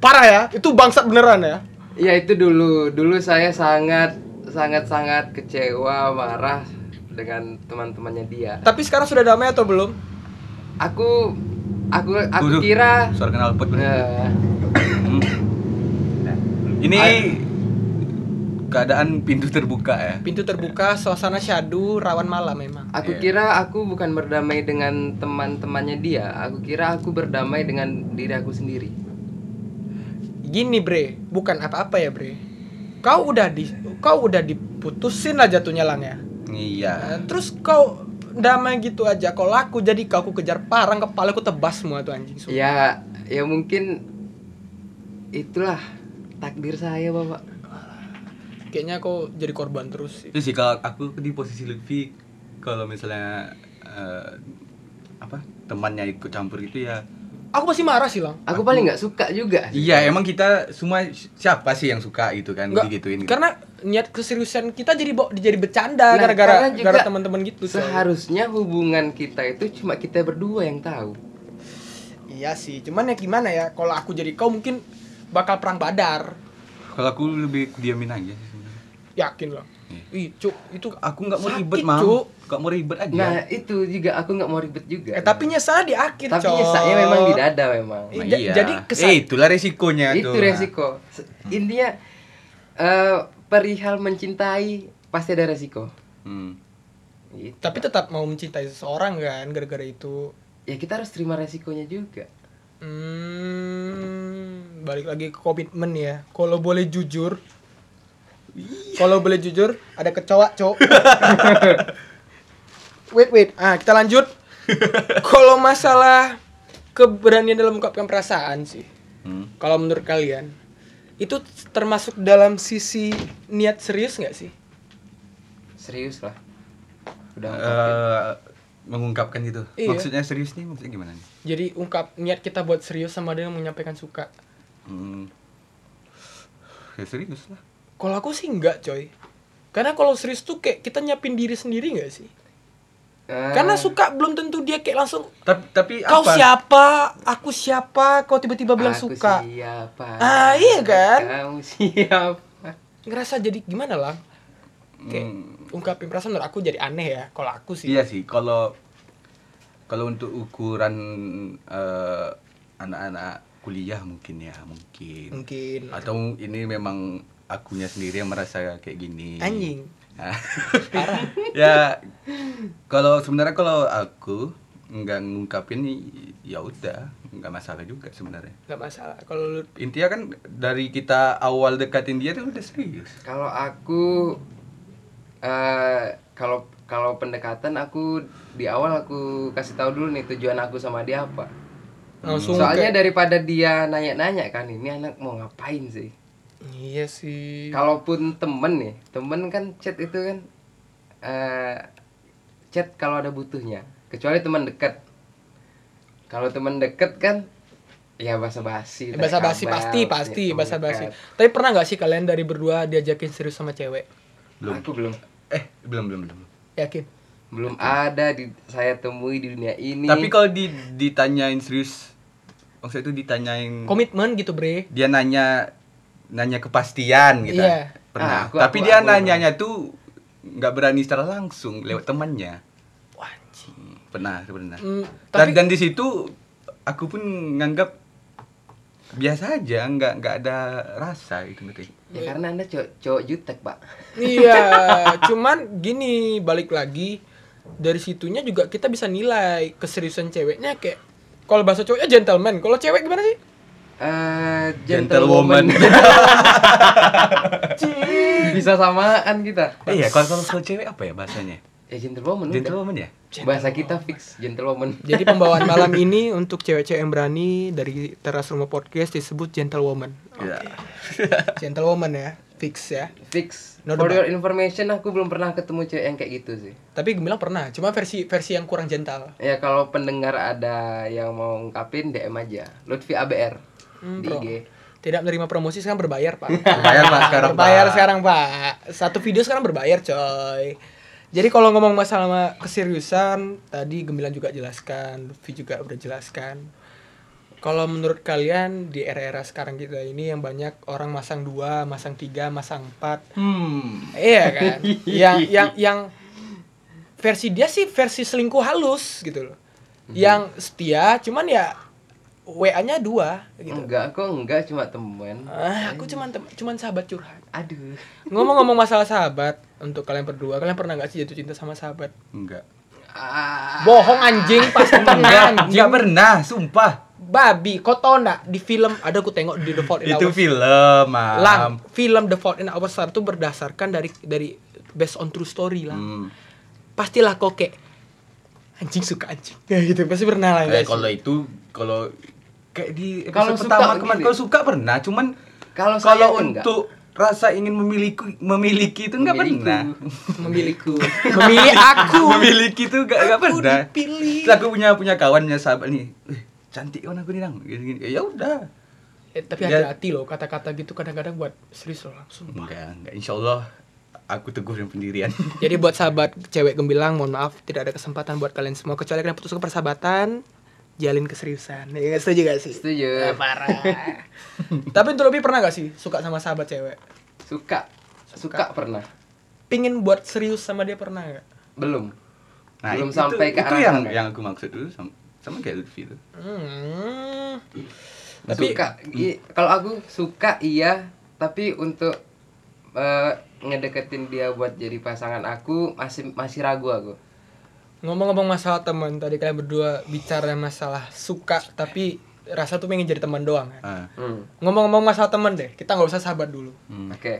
Speaker 2: Parah ya. Itu bangsat beneran ya.
Speaker 4: Ya itu dulu, dulu saya sangat sangat sangat kecewa, marah dengan teman-temannya dia.
Speaker 2: Tapi sekarang sudah damai atau belum?
Speaker 4: Aku aku aku
Speaker 3: Tuh, tuh.
Speaker 4: kira
Speaker 3: Suara kenal pot.
Speaker 4: eh,
Speaker 3: Ini keadaan pintu terbuka ya.
Speaker 2: Pintu terbuka, suasana syadu, rawan malam memang.
Speaker 4: aku
Speaker 3: Iya.
Speaker 4: kira aku bukan berdamai dengan teman-temannya dia. Aku kira aku berdamai dengan diri aku sendiri.
Speaker 2: Gini bre, bukan apa-apa ya bre. Kau udah di, kau udah diputusin lah jatuhnya lang ya.
Speaker 3: Iya.
Speaker 2: Nah, Terus kau damai gitu aja. Kalau aku jadi kau aku kejar parang kepala aku tebas semua tuh anjing.
Speaker 3: Iya.
Speaker 2: sumpah.
Speaker 4: Ya ya mungkin itulah takdir saya, Bapak.
Speaker 2: Kayaknya kau jadi korban terus sih.
Speaker 3: Itu sih kalau aku di posisi Lutfi kalau misalnya eh, apa temannya ikut campur gitu ya.
Speaker 2: Aku pasti marah sih lang.
Speaker 4: Aku paling nggak suka juga.
Speaker 3: Iya, emang kita semua siapa sih yang suka gitu kan
Speaker 2: Nggak,
Speaker 3: digituin. gitu.
Speaker 2: Karena niat keseriusan kita jadi bo- jadi bercanda
Speaker 4: Nah,
Speaker 2: gara-gara
Speaker 4: karena juga
Speaker 2: gara teman-teman gitu. soalnya.
Speaker 4: Seharusnya hubungan kita itu cuma kita berdua yang tahu.
Speaker 2: Iya sih. Cuman ya gimana ya? Kalau aku jadi kau mungkin bakal perang badar.
Speaker 3: Kalau aku lebih diamin aja sih sebenarnya.
Speaker 2: Yakin loh. Ih, cuk, itu
Speaker 3: Aku nggak mau
Speaker 2: Sakit,
Speaker 3: ribet, Mam.
Speaker 2: Cuk.
Speaker 3: Nggak mau ribet aja.
Speaker 4: Nah itu juga aku nggak mau ribet juga.
Speaker 2: Iya. Eh, tapi nyesalnya di akhir,
Speaker 4: tapi
Speaker 2: Cok.
Speaker 4: nyesaknya memang di dada memang.
Speaker 2: Iya, ja- jadi kesan-
Speaker 3: Eh, itulah resikonya
Speaker 4: itu
Speaker 3: tuh.
Speaker 4: resiko. Se- Intinya eh, perihal mencintai pasti ada resiko.
Speaker 3: Hmm.
Speaker 4: Gitu.
Speaker 2: Tapi tetap mau mencintai seseorang kan gara-gara itu.
Speaker 4: Ya kita harus terima resikonya juga.
Speaker 2: Hmm, balik lagi ke komitmen ya. Kalau boleh jujur, kalau boleh jujur, ada kecoa, Cok. wait, wait. Ah, kita lanjut. kalau masalah keberanian dalam mengungkapkan perasaan sih.
Speaker 3: Hmm.
Speaker 2: Kalau menurut kalian, itu termasuk dalam sisi niat serius nggak sih?
Speaker 4: Serius lah. Udah.
Speaker 3: Eh, mengungkapkan gitu.
Speaker 2: Ya, Iya.
Speaker 3: Maksudnya serius nih, maksudnya gimana nih?
Speaker 2: Jadi ungkap niat kita buat serius sama dengan menyampaikan suka.
Speaker 3: Hmm. ya serius lah
Speaker 2: Kalau aku sih enggak coy. Karena kalau serius tuh kayak kita nyiapin diri sendiri enggak sih?
Speaker 4: Eh,
Speaker 2: Karena suka belum tentu dia kayak langsung
Speaker 3: tapi tapi Ya
Speaker 2: kau
Speaker 3: apa
Speaker 2: siapa, aku siapa, kau tiba-tiba bilang suka.
Speaker 4: siapa
Speaker 2: Ah, iya kan?
Speaker 4: kamu siapa
Speaker 2: Ngerasa jadi gimana lah? Kayak
Speaker 3: Hmm,
Speaker 2: ungkapin perasaan menurut aku jadi aneh ya kalau aku sih.
Speaker 3: iya sih kalau kalau untuk ukuran eh, anak-anak kuliah mungkin ya
Speaker 2: Hmm.
Speaker 3: mungkin
Speaker 2: Mungkin
Speaker 3: atau ini memang akunya sendiri yang merasa kayak gini
Speaker 2: anjing.
Speaker 3: Ah.
Speaker 2: Parah.
Speaker 3: [LAUGHS] ya kalau sebenarnya kalau aku nggak ngungkapin ya udah nggak masalah juga sebenarnya
Speaker 2: Gak masalah. Kalau lu
Speaker 3: intinya kan dari kita awal dekatin dia tuh udah serius
Speaker 4: kalau aku eh kalau kalau pendekatan aku di awal aku kasih tahu dulu nih tujuan aku sama dia apa
Speaker 3: Hmm,
Speaker 2: langsung
Speaker 4: soalnya
Speaker 2: kayak-
Speaker 4: daripada dia nanya-nanya kan ini anak mau ngapain sih
Speaker 2: Iya sih.
Speaker 4: kalaupun temen nih temen kan chat itu kan eh chat kalau ada butuhnya kecuali teman dekat kalau teman dekat kan ya basa-basi tanya
Speaker 2: bahasa basi Eh,
Speaker 4: kabar,
Speaker 2: pasti pasti
Speaker 4: punya teman
Speaker 2: bahasa basi.
Speaker 4: dekat.
Speaker 2: Tapi pernah nggak sih kalian dari berdua diajakin serius sama cewek?
Speaker 3: belum
Speaker 4: aku belum
Speaker 3: eh belum belum belum
Speaker 2: Yakin?
Speaker 4: belum ada di saya temui di dunia ini
Speaker 3: tapi kalau di, ditanyain serius maksudnya itu ditanyain
Speaker 2: Komitmen gitu bre.
Speaker 3: dia nanya nanya kepastian gitu
Speaker 2: Iya.
Speaker 3: pernah
Speaker 4: Ah, aku-
Speaker 3: tapi
Speaker 4: aku-
Speaker 3: dia
Speaker 4: aku-
Speaker 3: nanyanya tuh nggak berani secara langsung lewat temannya
Speaker 2: Wah, anjing.
Speaker 3: pernah pernah
Speaker 2: Hmm,
Speaker 3: dan,
Speaker 2: tapi
Speaker 3: dan di situ aku pun nganggap biasa aja nggak nggak ada rasa gitu ngerti
Speaker 4: ya karena anda cowok cowok jutek pak
Speaker 2: iya, cuman gini balik lagi dari situnya juga kita bisa nilai keseriusan ceweknya kayak kalau bahasa cowoknya gentleman, kalau cewek gimana sih?
Speaker 4: eh
Speaker 3: Gentlewoman.
Speaker 4: gentlewoman [LAUGHS] bisa samaan kita
Speaker 3: eh ya kalau kalau kalau cewek apa ya bahasanya
Speaker 4: ya gentlewoman udah.
Speaker 3: gentleman ya
Speaker 4: bahasa kita fix gentlewoman
Speaker 2: Jadi pembawaan malam ini untuk cewek-cewek yang berani dari teras rumah podcast disebut gentlewoman.
Speaker 3: ya
Speaker 2: Gentlewoman ya, fix ya.
Speaker 4: fix
Speaker 2: No
Speaker 4: for
Speaker 2: debat.
Speaker 4: your information aku belum pernah ketemu cewek yang kayak gitu sih
Speaker 2: Tapi gue bilang pernah, cuma versi versi yang kurang gentle.
Speaker 4: ya kalau pendengar ada yang mau ngungkapin DM aja Lutfi ABR
Speaker 2: Hmm,
Speaker 4: di
Speaker 2: bro.
Speaker 4: IG
Speaker 2: Tidak menerima promosi sekarang berbayar pak.
Speaker 3: Berbayar, Pak, sekarang, Pak.
Speaker 2: Berbayar sekarang pak. Satu video sekarang berbayar coy. Jadi kalau ngomong masalah ma- keseriusan, tadi Gemilang juga jelaskan, Luffy juga udah jelaskan. Kalau menurut kalian di era-era sekarang kita ini yang banyak orang masang dua, masang tiga, masang empat,
Speaker 3: hmm
Speaker 2: Iya
Speaker 3: [LAUGHS]
Speaker 2: kan? yang yang yang versi dia sih versi selingkuh halus gitu loh.
Speaker 3: Hmm.
Speaker 2: Yang setia cuman ya WA-nya dua gitu.
Speaker 3: Hmm.
Speaker 4: enggak kok enggak cuma temen
Speaker 2: Ah, aku cuman tem- cuman sahabat curhat.
Speaker 4: aduh
Speaker 2: Ngomong-ngomong masalah sahabat, untuk kalian berdua, kalian pernah nggak sih jatuh cinta sama sahabat?
Speaker 3: enggak
Speaker 4: Ah,
Speaker 2: Bohong anjing, [LAUGHS] pasti
Speaker 3: enggak
Speaker 2: pernah anjing.
Speaker 3: enggak pernah sumpah
Speaker 2: Babi, kau tau nggak di film ada aku tengok di The Fault in
Speaker 3: itu
Speaker 2: Our
Speaker 3: film
Speaker 2: Lang,
Speaker 3: mam
Speaker 2: film The Fault in Our Stars itu berdasarkan dari dari based on true story lah.
Speaker 3: hmm.
Speaker 2: pastilah kok kayak anjing suka anjing [LAUGHS] ya gitu pasti pernah
Speaker 3: eh,
Speaker 2: lah guys
Speaker 3: kalau itu kalau kayak di
Speaker 4: Kalau
Speaker 3: episode
Speaker 4: suka
Speaker 3: pertama kemarin
Speaker 4: gini.
Speaker 3: kalau suka pernah cuman
Speaker 4: Kalau saya
Speaker 3: kalau
Speaker 4: enggak.
Speaker 3: untuk rasa ingin memiliki memiliki itu enggak
Speaker 4: Memiliki.
Speaker 3: pernah
Speaker 4: memiliku
Speaker 2: [LAUGHS] memilih aku
Speaker 3: [LAUGHS] memiliki tuh gak, gak
Speaker 2: Aku
Speaker 3: pernah
Speaker 2: dipilih.
Speaker 3: Terus aku punya punya kawan punya sahabat nih "Wih, cantik kan aku nih nang gini, gini. ya udah
Speaker 2: Eh, tapi
Speaker 3: Ya.
Speaker 2: hati-hati loh kata-kata gitu kadang-kadang buat serius loh langsung
Speaker 3: enggak enggak insya Allah aku teguh dengan
Speaker 4: [LAUGHS]
Speaker 3: pendirian
Speaker 2: jadi buat sahabat cewek gembilang mohon maaf tidak ada kesempatan buat kalian semua kecuali kalian putuskan persahabatan jalin keseriusan ya nggak setuju gak sih
Speaker 4: Setuju.
Speaker 2: Ya, parah tapi untuk lebih pernah gak sih suka sama sahabat cewek
Speaker 4: suka suka pernah
Speaker 2: pingin buat serius sama dia pernah gak
Speaker 4: belum belum
Speaker 3: Nah, itu-
Speaker 4: sampai ke
Speaker 3: itu
Speaker 4: arah
Speaker 3: yang
Speaker 4: sana.
Speaker 3: yang aku maksud dulu sama, sama kayak Lutfi tuh
Speaker 2: hmm.
Speaker 4: tapi suka i- kalau aku suka iya tapi untuk eh, ngedeketin dia buat jadi pasangan aku masih masih ragu aku
Speaker 2: Ngomong-ngomong masalah teman, tadi kalian berdua bicara masalah suka tapi rasa tuh pengen jadi teman doang kan.
Speaker 3: Ah,
Speaker 4: Hmm,
Speaker 2: Ngomong-ngomong masalah teman deh, kita nggak usah sahabat dulu.
Speaker 3: hmm.
Speaker 4: oke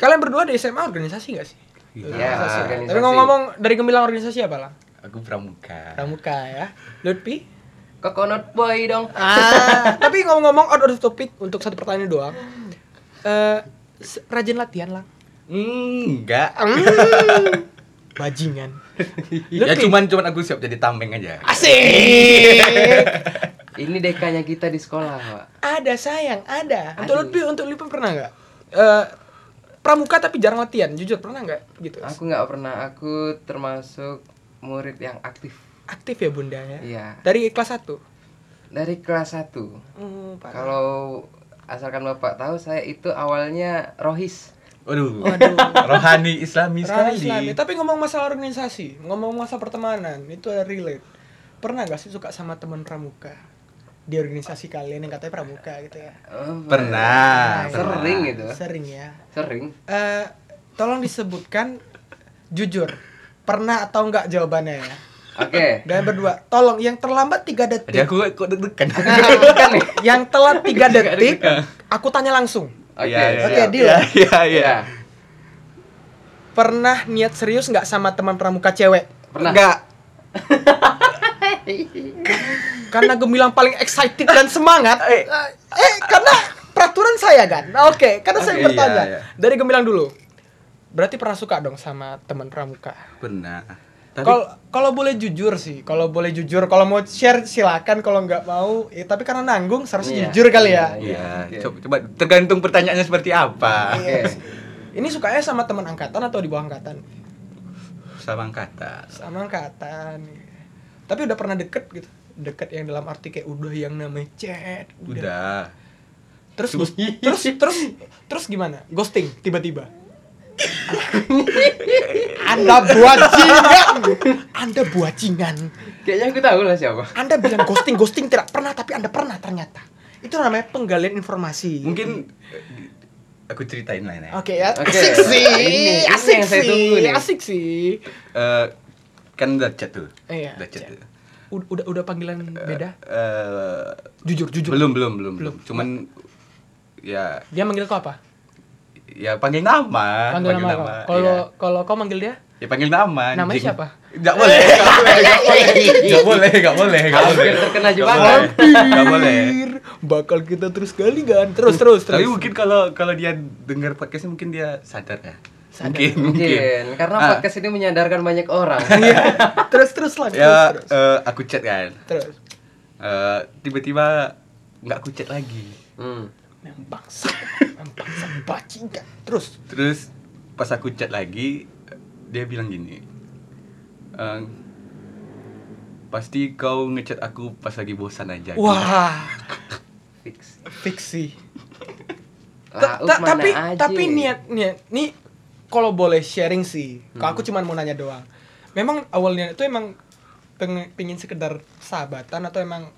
Speaker 2: Kalian berdua di SMA organisasi nggak sih?
Speaker 3: Iya.
Speaker 2: Organisasi.
Speaker 4: organisasi.
Speaker 2: Tapi ngomong-ngomong dari gemilang organisasi apa lah?
Speaker 3: aku pramuka
Speaker 2: Pramuka ya. Lutfi?
Speaker 4: coconut boy dong
Speaker 2: Ah, [LAUGHS] tapi ngomong-ngomong out of topic untuk satu pertanyaan doang. Eh se- rajin latihan lah.
Speaker 3: Hmm, enggak
Speaker 2: Mm. [LAUGHS] Bajingan.
Speaker 3: ya
Speaker 2: Lutfi?
Speaker 3: cuman cuman aku siap jadi tameng aja
Speaker 2: Asik.
Speaker 4: ini dekanya kita di sekolah pak
Speaker 2: [LAUGHS] Ada sayang, ada. Untuk
Speaker 4: Aduh.
Speaker 2: Lutfi, untuk Lutfi pernah nggak? eh, pramuka tapi jarang latihan, jujur pernah nggak gitu?
Speaker 4: Aku nggak pernah, aku termasuk murid yang aktif.
Speaker 2: Aktif ya bunda ya.
Speaker 4: Iya.
Speaker 2: Dari kelas 1
Speaker 4: Dari kelas 1.
Speaker 2: Hmm,
Speaker 4: Kalau asalkan Bapak tahu saya itu awalnya rohis.
Speaker 3: Waduh.
Speaker 2: [LAUGHS]
Speaker 3: Rohani Islami sekali.
Speaker 2: Tapi ngomong masalah organisasi, ngomong masalah pertemanan, itu ada relate. Pernah nggak sih suka sama teman pramuka di organisasi kalian yang katanya pramuka gitu ya?
Speaker 4: Oh,
Speaker 3: Pernah.
Speaker 4: Sering
Speaker 3: pernah.
Speaker 4: gitu.
Speaker 2: Sering ya.
Speaker 4: Sering.
Speaker 2: Eh, tolong disebutkan jujur pernah atau enggak jawabannya ya
Speaker 4: Oke.
Speaker 2: dan berdua tolong yang terlambat tiga
Speaker 3: Jadi
Speaker 2: detik
Speaker 3: aku kok deg-degan. [LAUGHS]
Speaker 4: Nah, bukan nih.
Speaker 2: yang telat tiga detik aku tanya langsung
Speaker 4: Oke.
Speaker 3: Iya,
Speaker 4: siap.
Speaker 2: Oke, deal.
Speaker 3: Iya, Iya, iya.
Speaker 4: Iya.
Speaker 2: pernah niat serius nggak sama teman pramuka cewek
Speaker 4: Pernah.
Speaker 2: Nggak. karena gemilang paling excited dan semangat eh, karena peraturan saya kan oke karena saya
Speaker 3: Oke, iya,
Speaker 2: bertanya
Speaker 3: iya.
Speaker 2: dari gemilang dulu berarti pernah suka dong sama teman pramuka
Speaker 3: Pernah. Tapi
Speaker 2: kalau kalau boleh jujur sih kalau boleh jujur kalau mau share silakan kalau nggak mau ya, tapi karena nanggung
Speaker 4: Iya.
Speaker 2: seharusnya jujur kali ya
Speaker 3: Iya,
Speaker 4: Oke.
Speaker 3: coba, coba tergantung pertanyaannya seperti apa.
Speaker 4: Oke.
Speaker 2: Iya. ini sukanya sama teman angkatan atau di bawah angkatan
Speaker 3: Sama angkatan.
Speaker 2: sama angkatan tapi udah pernah deket gitu deket yang dalam arti kayak udah yang namanya chat udah,
Speaker 3: Udah.
Speaker 2: terus ghost- terus terus terus gimana ghosting tiba-tiba anda buacingan anda buacingan
Speaker 4: Kayaknya aku tahu lah siapa.
Speaker 2: anda bilang ghosting ghosting tidak pernah tapi anda pernah ternyata itu namanya penggalian informasi
Speaker 3: Mungkin eh, aku ceritain lah ini.
Speaker 2: Oke ya,
Speaker 4: Oke.
Speaker 2: asik sih,
Speaker 4: Ini- ini
Speaker 2: asik
Speaker 4: yang saya
Speaker 2: sih,
Speaker 4: tunggu nih.
Speaker 2: asik sih.
Speaker 3: Eh, kan udah chat tuh.
Speaker 2: Iya,
Speaker 3: Udah chat.
Speaker 2: chat.
Speaker 3: tuh.
Speaker 2: Ud- Udah udah panggilan beda?
Speaker 3: Eh,
Speaker 2: Jujur, jujur.
Speaker 3: belum, belum, belum, belum.
Speaker 2: Belum.
Speaker 3: Cuman ya
Speaker 2: Dia manggil kau apa?
Speaker 3: ya panggil nama,
Speaker 2: Panggil nama kau. Kalau
Speaker 3: iya.
Speaker 2: kalau kau manggil dia?
Speaker 3: Ya panggil nama.
Speaker 2: Namanya
Speaker 3: anjing.
Speaker 2: siapa?
Speaker 3: Nggak boleh.
Speaker 2: [LAUGHS]
Speaker 3: Enggak boleh, enggak boleh, enggak
Speaker 4: Aku
Speaker 3: boleh.
Speaker 4: yang terkena
Speaker 3: Nggak
Speaker 4: jebakan.
Speaker 3: boleh, Nggak boleh.
Speaker 2: Bakal kita terus gali kan? Terus terus terus.
Speaker 3: Tapi mungkin kalau kalau dia dengar podcastnya mungkin dia sadar ya.
Speaker 2: Sadar.
Speaker 3: Mungkin, mungkin.
Speaker 4: Mungkin karena
Speaker 3: Ah.
Speaker 4: podcast ini menyadarkan banyak
Speaker 3: [LAUGHS]
Speaker 4: orang.
Speaker 2: Iya. [LAUGHS] terus terus lah. Terus,
Speaker 3: Ya,
Speaker 2: terus.
Speaker 3: eh, aku chat kan.
Speaker 2: terus.
Speaker 3: Eh, tiba-tiba nggak aku chat lagi.
Speaker 4: Hmm.
Speaker 2: Memang bangsa, memang bangsa bajingan. Terus
Speaker 3: Terus pas aku chat lagi eh, dia bilang gini. "Eh, pasti kau ngechat aku pas lagi bosan aja.
Speaker 2: wah,
Speaker 4: Fix.
Speaker 2: fiksi. Ta-
Speaker 4: Lauk
Speaker 2: ta-
Speaker 4: mana
Speaker 2: tapi
Speaker 4: aja ya.
Speaker 2: tapi
Speaker 4: ini?
Speaker 2: niat niat nih kalau boleh sharing sih. Kalau aku cuman mau nanya doang. Memang awalnya itu emang pengen, pingin sekedar sahabatan atau emang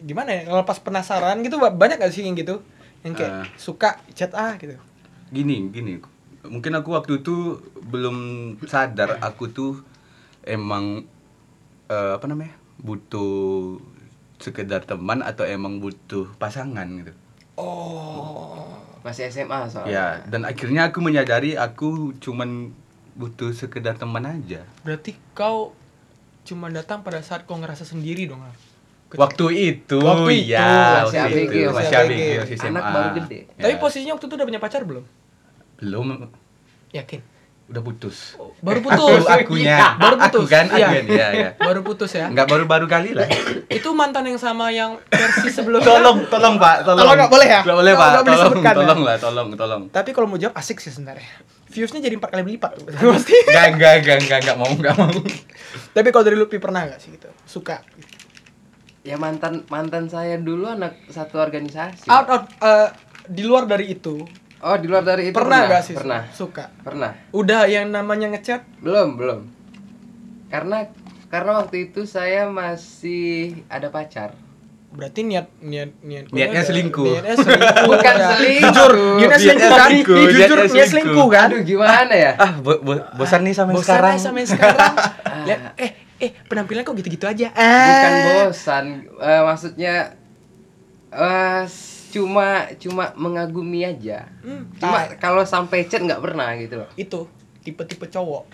Speaker 2: gimana ya? Kalau pas penasaran gitu ba- banyak gak sih yang gitu? Yang kayak
Speaker 3: Eh.
Speaker 2: suka chat ah gitu.
Speaker 3: gini gini mungkin aku waktu itu belum sadar aku tuh emang eh, apa namanya butuh sekedar teman atau emang butuh pasangan gitu
Speaker 2: Oh.
Speaker 4: Masih SMA soalnya.
Speaker 3: ya dan akhirnya aku menyadari aku cuman butuh sekedar teman aja
Speaker 2: Berarti kau cuma datang pada saat kau ngerasa sendiri dong. ah? Ar. Ketika-
Speaker 3: waktu itu
Speaker 2: Waktu itu,
Speaker 3: ya
Speaker 4: masih
Speaker 3: waktu
Speaker 4: ABG,
Speaker 3: itu,
Speaker 4: masih
Speaker 3: masih
Speaker 2: ABG.
Speaker 3: ABG, masih SMA.
Speaker 4: Anak baru gede.
Speaker 3: Ya,
Speaker 2: Tapi posisinya waktu itu udah punya pacar belum?
Speaker 3: belum
Speaker 2: Yakin.
Speaker 3: udah putus
Speaker 2: Baru putus.
Speaker 3: aku akunya
Speaker 2: Baru
Speaker 3: aku
Speaker 2: putus.
Speaker 3: kan
Speaker 2: Iya.
Speaker 3: aku ya ya
Speaker 2: Baru putus ya.
Speaker 3: nggak baru-baru kali lah
Speaker 2: Itu mantan yang sama yang versi sebelumnya.
Speaker 3: tolong tolong pak tolong
Speaker 2: Tolong nggak boleh ya?
Speaker 3: nggak boleh
Speaker 2: Nggak-
Speaker 3: pak
Speaker 2: nggak boleh
Speaker 3: tolong
Speaker 2: disebutkan ya?
Speaker 3: tolong lah tolong tolong
Speaker 2: Tapi kalau mau jawab asik sih sebenarnya. Viewsnya jadi empat kali lipat tuh. pasti.
Speaker 3: nggak nggak nggak nggak nggak mau nggak mau
Speaker 2: Tapi kalau dari Lupi pernah nggak sih gitu? Suka.
Speaker 4: Ya mantan mantan saya dulu anak satu organisasi.
Speaker 2: Out out eh, di luar dari itu
Speaker 4: Oh, di luar dari itu
Speaker 2: pernah nggak sih?
Speaker 4: Pernah.
Speaker 2: Suka.
Speaker 4: Pernah.
Speaker 2: Udah yang namanya ngechat
Speaker 4: Belum, belum. Karena karena waktu itu saya masih ada pacar.
Speaker 2: berarti niat niat niat
Speaker 3: Niatnya selingkuh.
Speaker 2: niatnya selingkuh
Speaker 4: Bukan
Speaker 2: ya.
Speaker 4: selingkuh.
Speaker 2: jujur niatnya
Speaker 3: Niatnya
Speaker 2: selingkuh kan
Speaker 3: selingkuh,
Speaker 2: jujur
Speaker 3: niatnya
Speaker 2: niat selingkuh kan
Speaker 4: Aduh, gimana ya?
Speaker 3: ah bo- bo- bosan nih sama yang
Speaker 2: bosan
Speaker 3: sekarang
Speaker 2: aja sama yang
Speaker 4: [LAUGHS]
Speaker 2: sekarang Lihat, eh eh penampilan kok gitu-gitu aja
Speaker 4: Bukan
Speaker 2: Ah.
Speaker 4: bosan, eh, maksudnya eh s- cuma cuma mengagumi aja.
Speaker 2: Hmm,
Speaker 4: Cuma
Speaker 2: tai.
Speaker 4: kalau sampai chat nggak pernah gitu loh.
Speaker 2: itu tipe-tipe cowok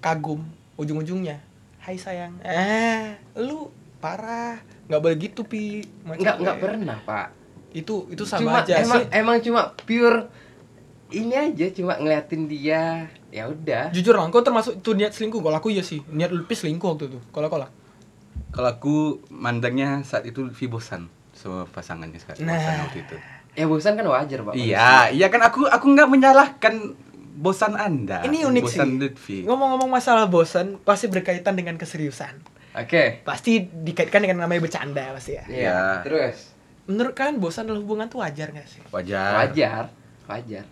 Speaker 2: kagum ujung-ujungnya hai sayang eh lu parah nggak boleh gitu pi Macam
Speaker 4: Nggak nggak
Speaker 2: kayak-
Speaker 4: pernah, Pak.
Speaker 2: itu itu sama
Speaker 4: cuma
Speaker 2: aja
Speaker 4: emang
Speaker 2: sih
Speaker 4: emang cuma pure ini aja cuma ngeliatin dia. Ya udah.
Speaker 2: jujur lah kau termasuk itu niat selingkuh kalau aku iya sih niat lebih selingkuh waktu itu kalau kau lah
Speaker 3: kalau aku mandangnya saat itu Lutfi bosan sama pasangannya sekarang
Speaker 2: Nah.
Speaker 3: bosan waktu itu
Speaker 4: ya bosan kan wajar pak
Speaker 3: Iya, iya kan aku aku nggak menyalahkan bosan Anda.
Speaker 2: Ini unik
Speaker 3: bosan
Speaker 2: sih.
Speaker 3: Lutfi.
Speaker 4: Iya.
Speaker 2: Ngomong-ngomong masalah bosan, pasti berkaitan dengan keseriusan.
Speaker 4: oke
Speaker 2: Pasti dikaitkan dengan namanya bercanda pasti ya.
Speaker 4: iya
Speaker 3: Iya.
Speaker 4: terus
Speaker 2: Menurut kalian bosan dalam hubungan tuh wajar gak sih?
Speaker 3: Wajar.
Speaker 4: wajar wajar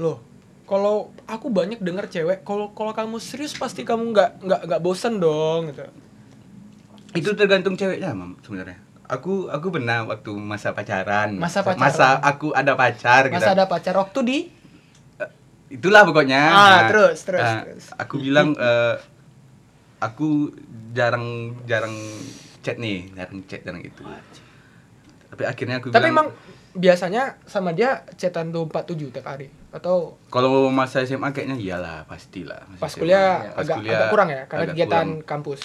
Speaker 2: Loh, kalau aku banyak dengar cewek, kalau kalau kamu serius pasti kamu nggak nggak nggak bosan dong gitu.
Speaker 3: Itu tergantung ceweknya, Mam, sebenarnya. Aku aku pernah waktu masa pacaran.
Speaker 2: Masa pacaran.
Speaker 3: Masa aku ada pacar gitu.
Speaker 2: Masa ada pacar waktu di
Speaker 3: Itulah pokoknya.
Speaker 2: Ah, terus, terus,
Speaker 3: nah,
Speaker 2: terus.
Speaker 3: Aku bilang eh, aku jarang jarang chat nih, jarang chat jarang itu. Tapi akhirnya aku
Speaker 2: Tapi emang
Speaker 3: bilang
Speaker 2: biasanya sama dia chatan tuh 47 tiap hari atau
Speaker 3: kalau masa SMA kayaknya iyalah pastilah. Masa
Speaker 2: pas
Speaker 3: SMA.
Speaker 2: kuliah
Speaker 3: Pas
Speaker 2: agak
Speaker 3: kuliah
Speaker 2: agak kurang ya karena
Speaker 3: agak
Speaker 2: kegiatan
Speaker 3: kurang.
Speaker 2: kampus.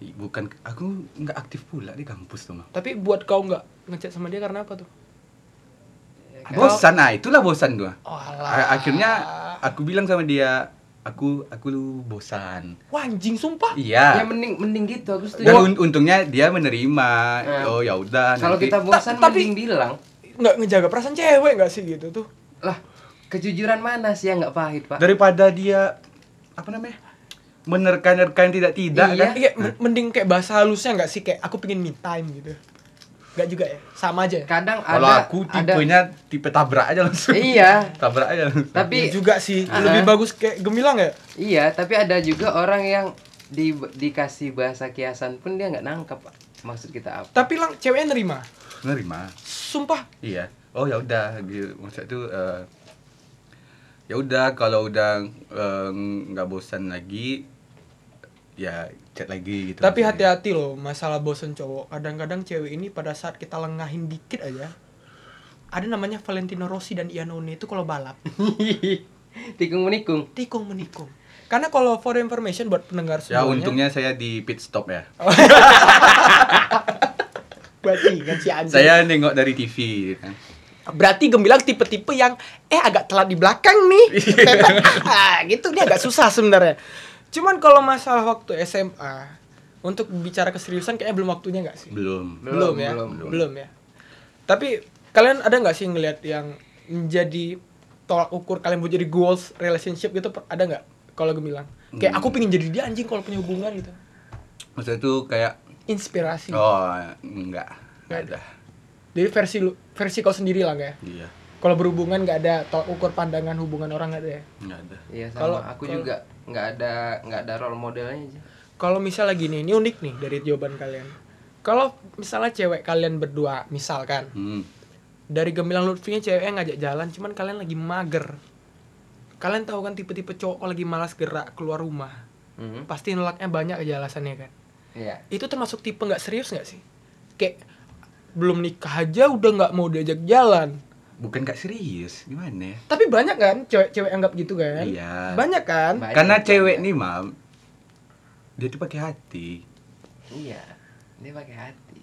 Speaker 3: bukan aku nggak aktif pula di kampus tuh mah
Speaker 2: Tapi buat kau nggak ngechat sama dia karena apa tuh? Iya
Speaker 4: Ya kan?
Speaker 3: bosan nah itulah bosan gua
Speaker 2: Oh, alah.
Speaker 3: A- akhirnya aku bilang sama dia aku aku lu bosan
Speaker 2: Wah, anjing sumpah.
Speaker 3: iya
Speaker 4: ya mending mending gitu aku
Speaker 3: dan
Speaker 4: setuju
Speaker 3: un- untungnya dia menerima
Speaker 4: Eh.
Speaker 2: Nah.
Speaker 3: oh ya udah
Speaker 4: kalau
Speaker 3: nanti-
Speaker 4: kita bosan
Speaker 2: Ta- tapi-
Speaker 4: mending bilang
Speaker 2: Nggak ngejaga perasaan cewek nggak sih gitu tuh?
Speaker 4: lah kejujuran mana sih yang nggak pahit pak
Speaker 3: daripada dia apa namanya menerka-nerka yang tidak tidak
Speaker 4: Iya.
Speaker 3: kan
Speaker 2: Iya, men- mending kayak bahasa halusnya nggak sih kayak aku pingin me time gitu. Nggak juga ya? Sama aja. ya?
Speaker 4: kadang
Speaker 3: kalau
Speaker 4: ada
Speaker 3: aku
Speaker 4: ada
Speaker 3: tipenya tipe tabrak aja langsung
Speaker 4: iya
Speaker 3: [LAUGHS] tabrak aja langsung
Speaker 2: Iya
Speaker 4: tapi
Speaker 2: juga sih,
Speaker 4: Ah.
Speaker 2: lebih bagus kayak gemilang ya?
Speaker 4: Iya, tapi ada juga orang yang di, dikasih bahasa kiasan pun dia nggak nangkep Pak. maksud kita apa.
Speaker 2: Tapi lang ceweknya nerima.
Speaker 3: menerima
Speaker 2: Sumpah,
Speaker 3: Iya. Oh ya udah, gitu. maksud itu eh, ya udah kalau udah eh, nggak bosan lagi ya chat lagi gitu.
Speaker 2: Tapi
Speaker 3: maksudnya.
Speaker 2: hati-hati loh masalah bosen cowok. Kadang-kadang cewek ini pada saat kita lengahin dikit aja ada namanya Valentino Rossi dan Iannone itu kalau balap [LAUGHS]
Speaker 4: [LAUGHS] Tikung menikung.
Speaker 2: tikung menikung. Karena kalau for information buat pendengar
Speaker 3: Ya
Speaker 2: semuanya.
Speaker 3: untungnya saya di pit stop ya.
Speaker 2: berarti kan si anjing.
Speaker 3: Saya nengok dari TV gitu kan.
Speaker 2: Berarti gemilang tipe-tipe yang eh agak telat di belakang nih.
Speaker 3: [LAUGHS]
Speaker 2: [LAUGHS] Ah, gitu dia agak susah sebenarnya. Cuman kalau masalah waktu SMA untuk bicara keseriusan kayaknya belum waktunya nggak sih?
Speaker 3: Belum.
Speaker 2: belum, ya belum,
Speaker 4: belum.
Speaker 2: ya tapi kalian ada nggak sih ngelihat yang menjadi tolak ukur kalian mau jadi goals relationship gitu per- ada nggak kalau gue bilang kayak aku pingin jadi dia anjing kalau punya hubungan gitu
Speaker 3: Maksudnya itu kayak
Speaker 2: inspirasi
Speaker 3: oh enggak, enggak ada.
Speaker 2: jadi versi lu versi kau sendiri lah nggak ya
Speaker 3: Iya,
Speaker 2: kalau berhubungan nggak ada tolak ukur pandangan hubungan orang nggak ada ya
Speaker 3: enggak ada.
Speaker 4: Iya,
Speaker 2: Kalau-
Speaker 4: sama aku
Speaker 2: kalau-
Speaker 4: juga nggak ada nggak ada role modelnya aja.
Speaker 2: kalau misalnya gini ini unik nih dari jawaban kalian kalau misalnya cewek kalian berdua misalkan
Speaker 3: Hmm.
Speaker 2: dari gemilang Lutfinya cewek yang ngajak jalan cuman kalian lagi mager kalian tahu kan tipe-tipe cowok kalau lagi malas gerak keluar rumah
Speaker 4: Mhm.
Speaker 2: pasti nolaknya banyak aja alasannya kan
Speaker 4: Iya.
Speaker 2: itu termasuk tipe nggak serius nggak sih kayak belum nikah aja udah nggak mau diajak jalan
Speaker 3: Bukan gak serius, gimana ya?
Speaker 2: tapi banyak kan cewek-cewek anggap gitu kan
Speaker 3: Iya.
Speaker 2: banyak kan
Speaker 4: Banyak
Speaker 3: Karena
Speaker 4: juga.
Speaker 3: cewek nih, Mam, dia tuh pakai hati.
Speaker 4: Iya. Dia pakai hati.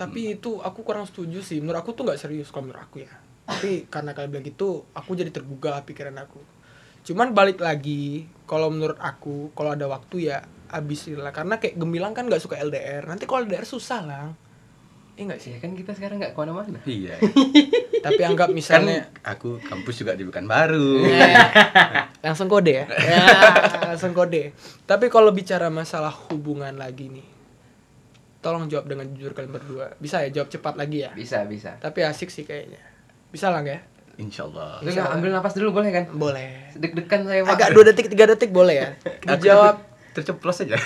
Speaker 2: tapi itu aku kurang setuju sih menurut aku tuh nggak serius kalau menurut aku ya tapi karena kalian bilang gitu aku jadi tergugah pikiran aku cuman balik lagi kalau menurut aku kalau ada waktu ya abisin lah karena kayak gemilang kan nggak suka LDR nanti kalau LDR susah lah Iya nggak [LAUGHS] sih
Speaker 4: Iya kan kita sekarang nggak kemana-mana.
Speaker 3: Iya.
Speaker 2: tapi anggap
Speaker 3: [LAUGHS] kan
Speaker 2: misalnya Iya.
Speaker 3: aku kampus juga di Pekanbaru.
Speaker 2: langsung kode ya, [LAUGHS] Ya, langsung kode tapi kalau bicara masalah hubungan lagi nih tolong jawab dengan jujur kalian berdua bisa ya jawab cepat lagi ya
Speaker 4: Bisa bisa.
Speaker 2: tapi asik sih kayaknya bisa lah nggak ya
Speaker 3: Insyaallah.
Speaker 4: Itu nggak ambil napas dulu boleh kan?
Speaker 2: Boleh.
Speaker 4: Deg-degan saya Pak.
Speaker 2: Agak 2 detik, 3 detik boleh [LAUGHS] ya. Dijawab,
Speaker 3: terceplos
Speaker 2: [LAUGHS]
Speaker 3: aja.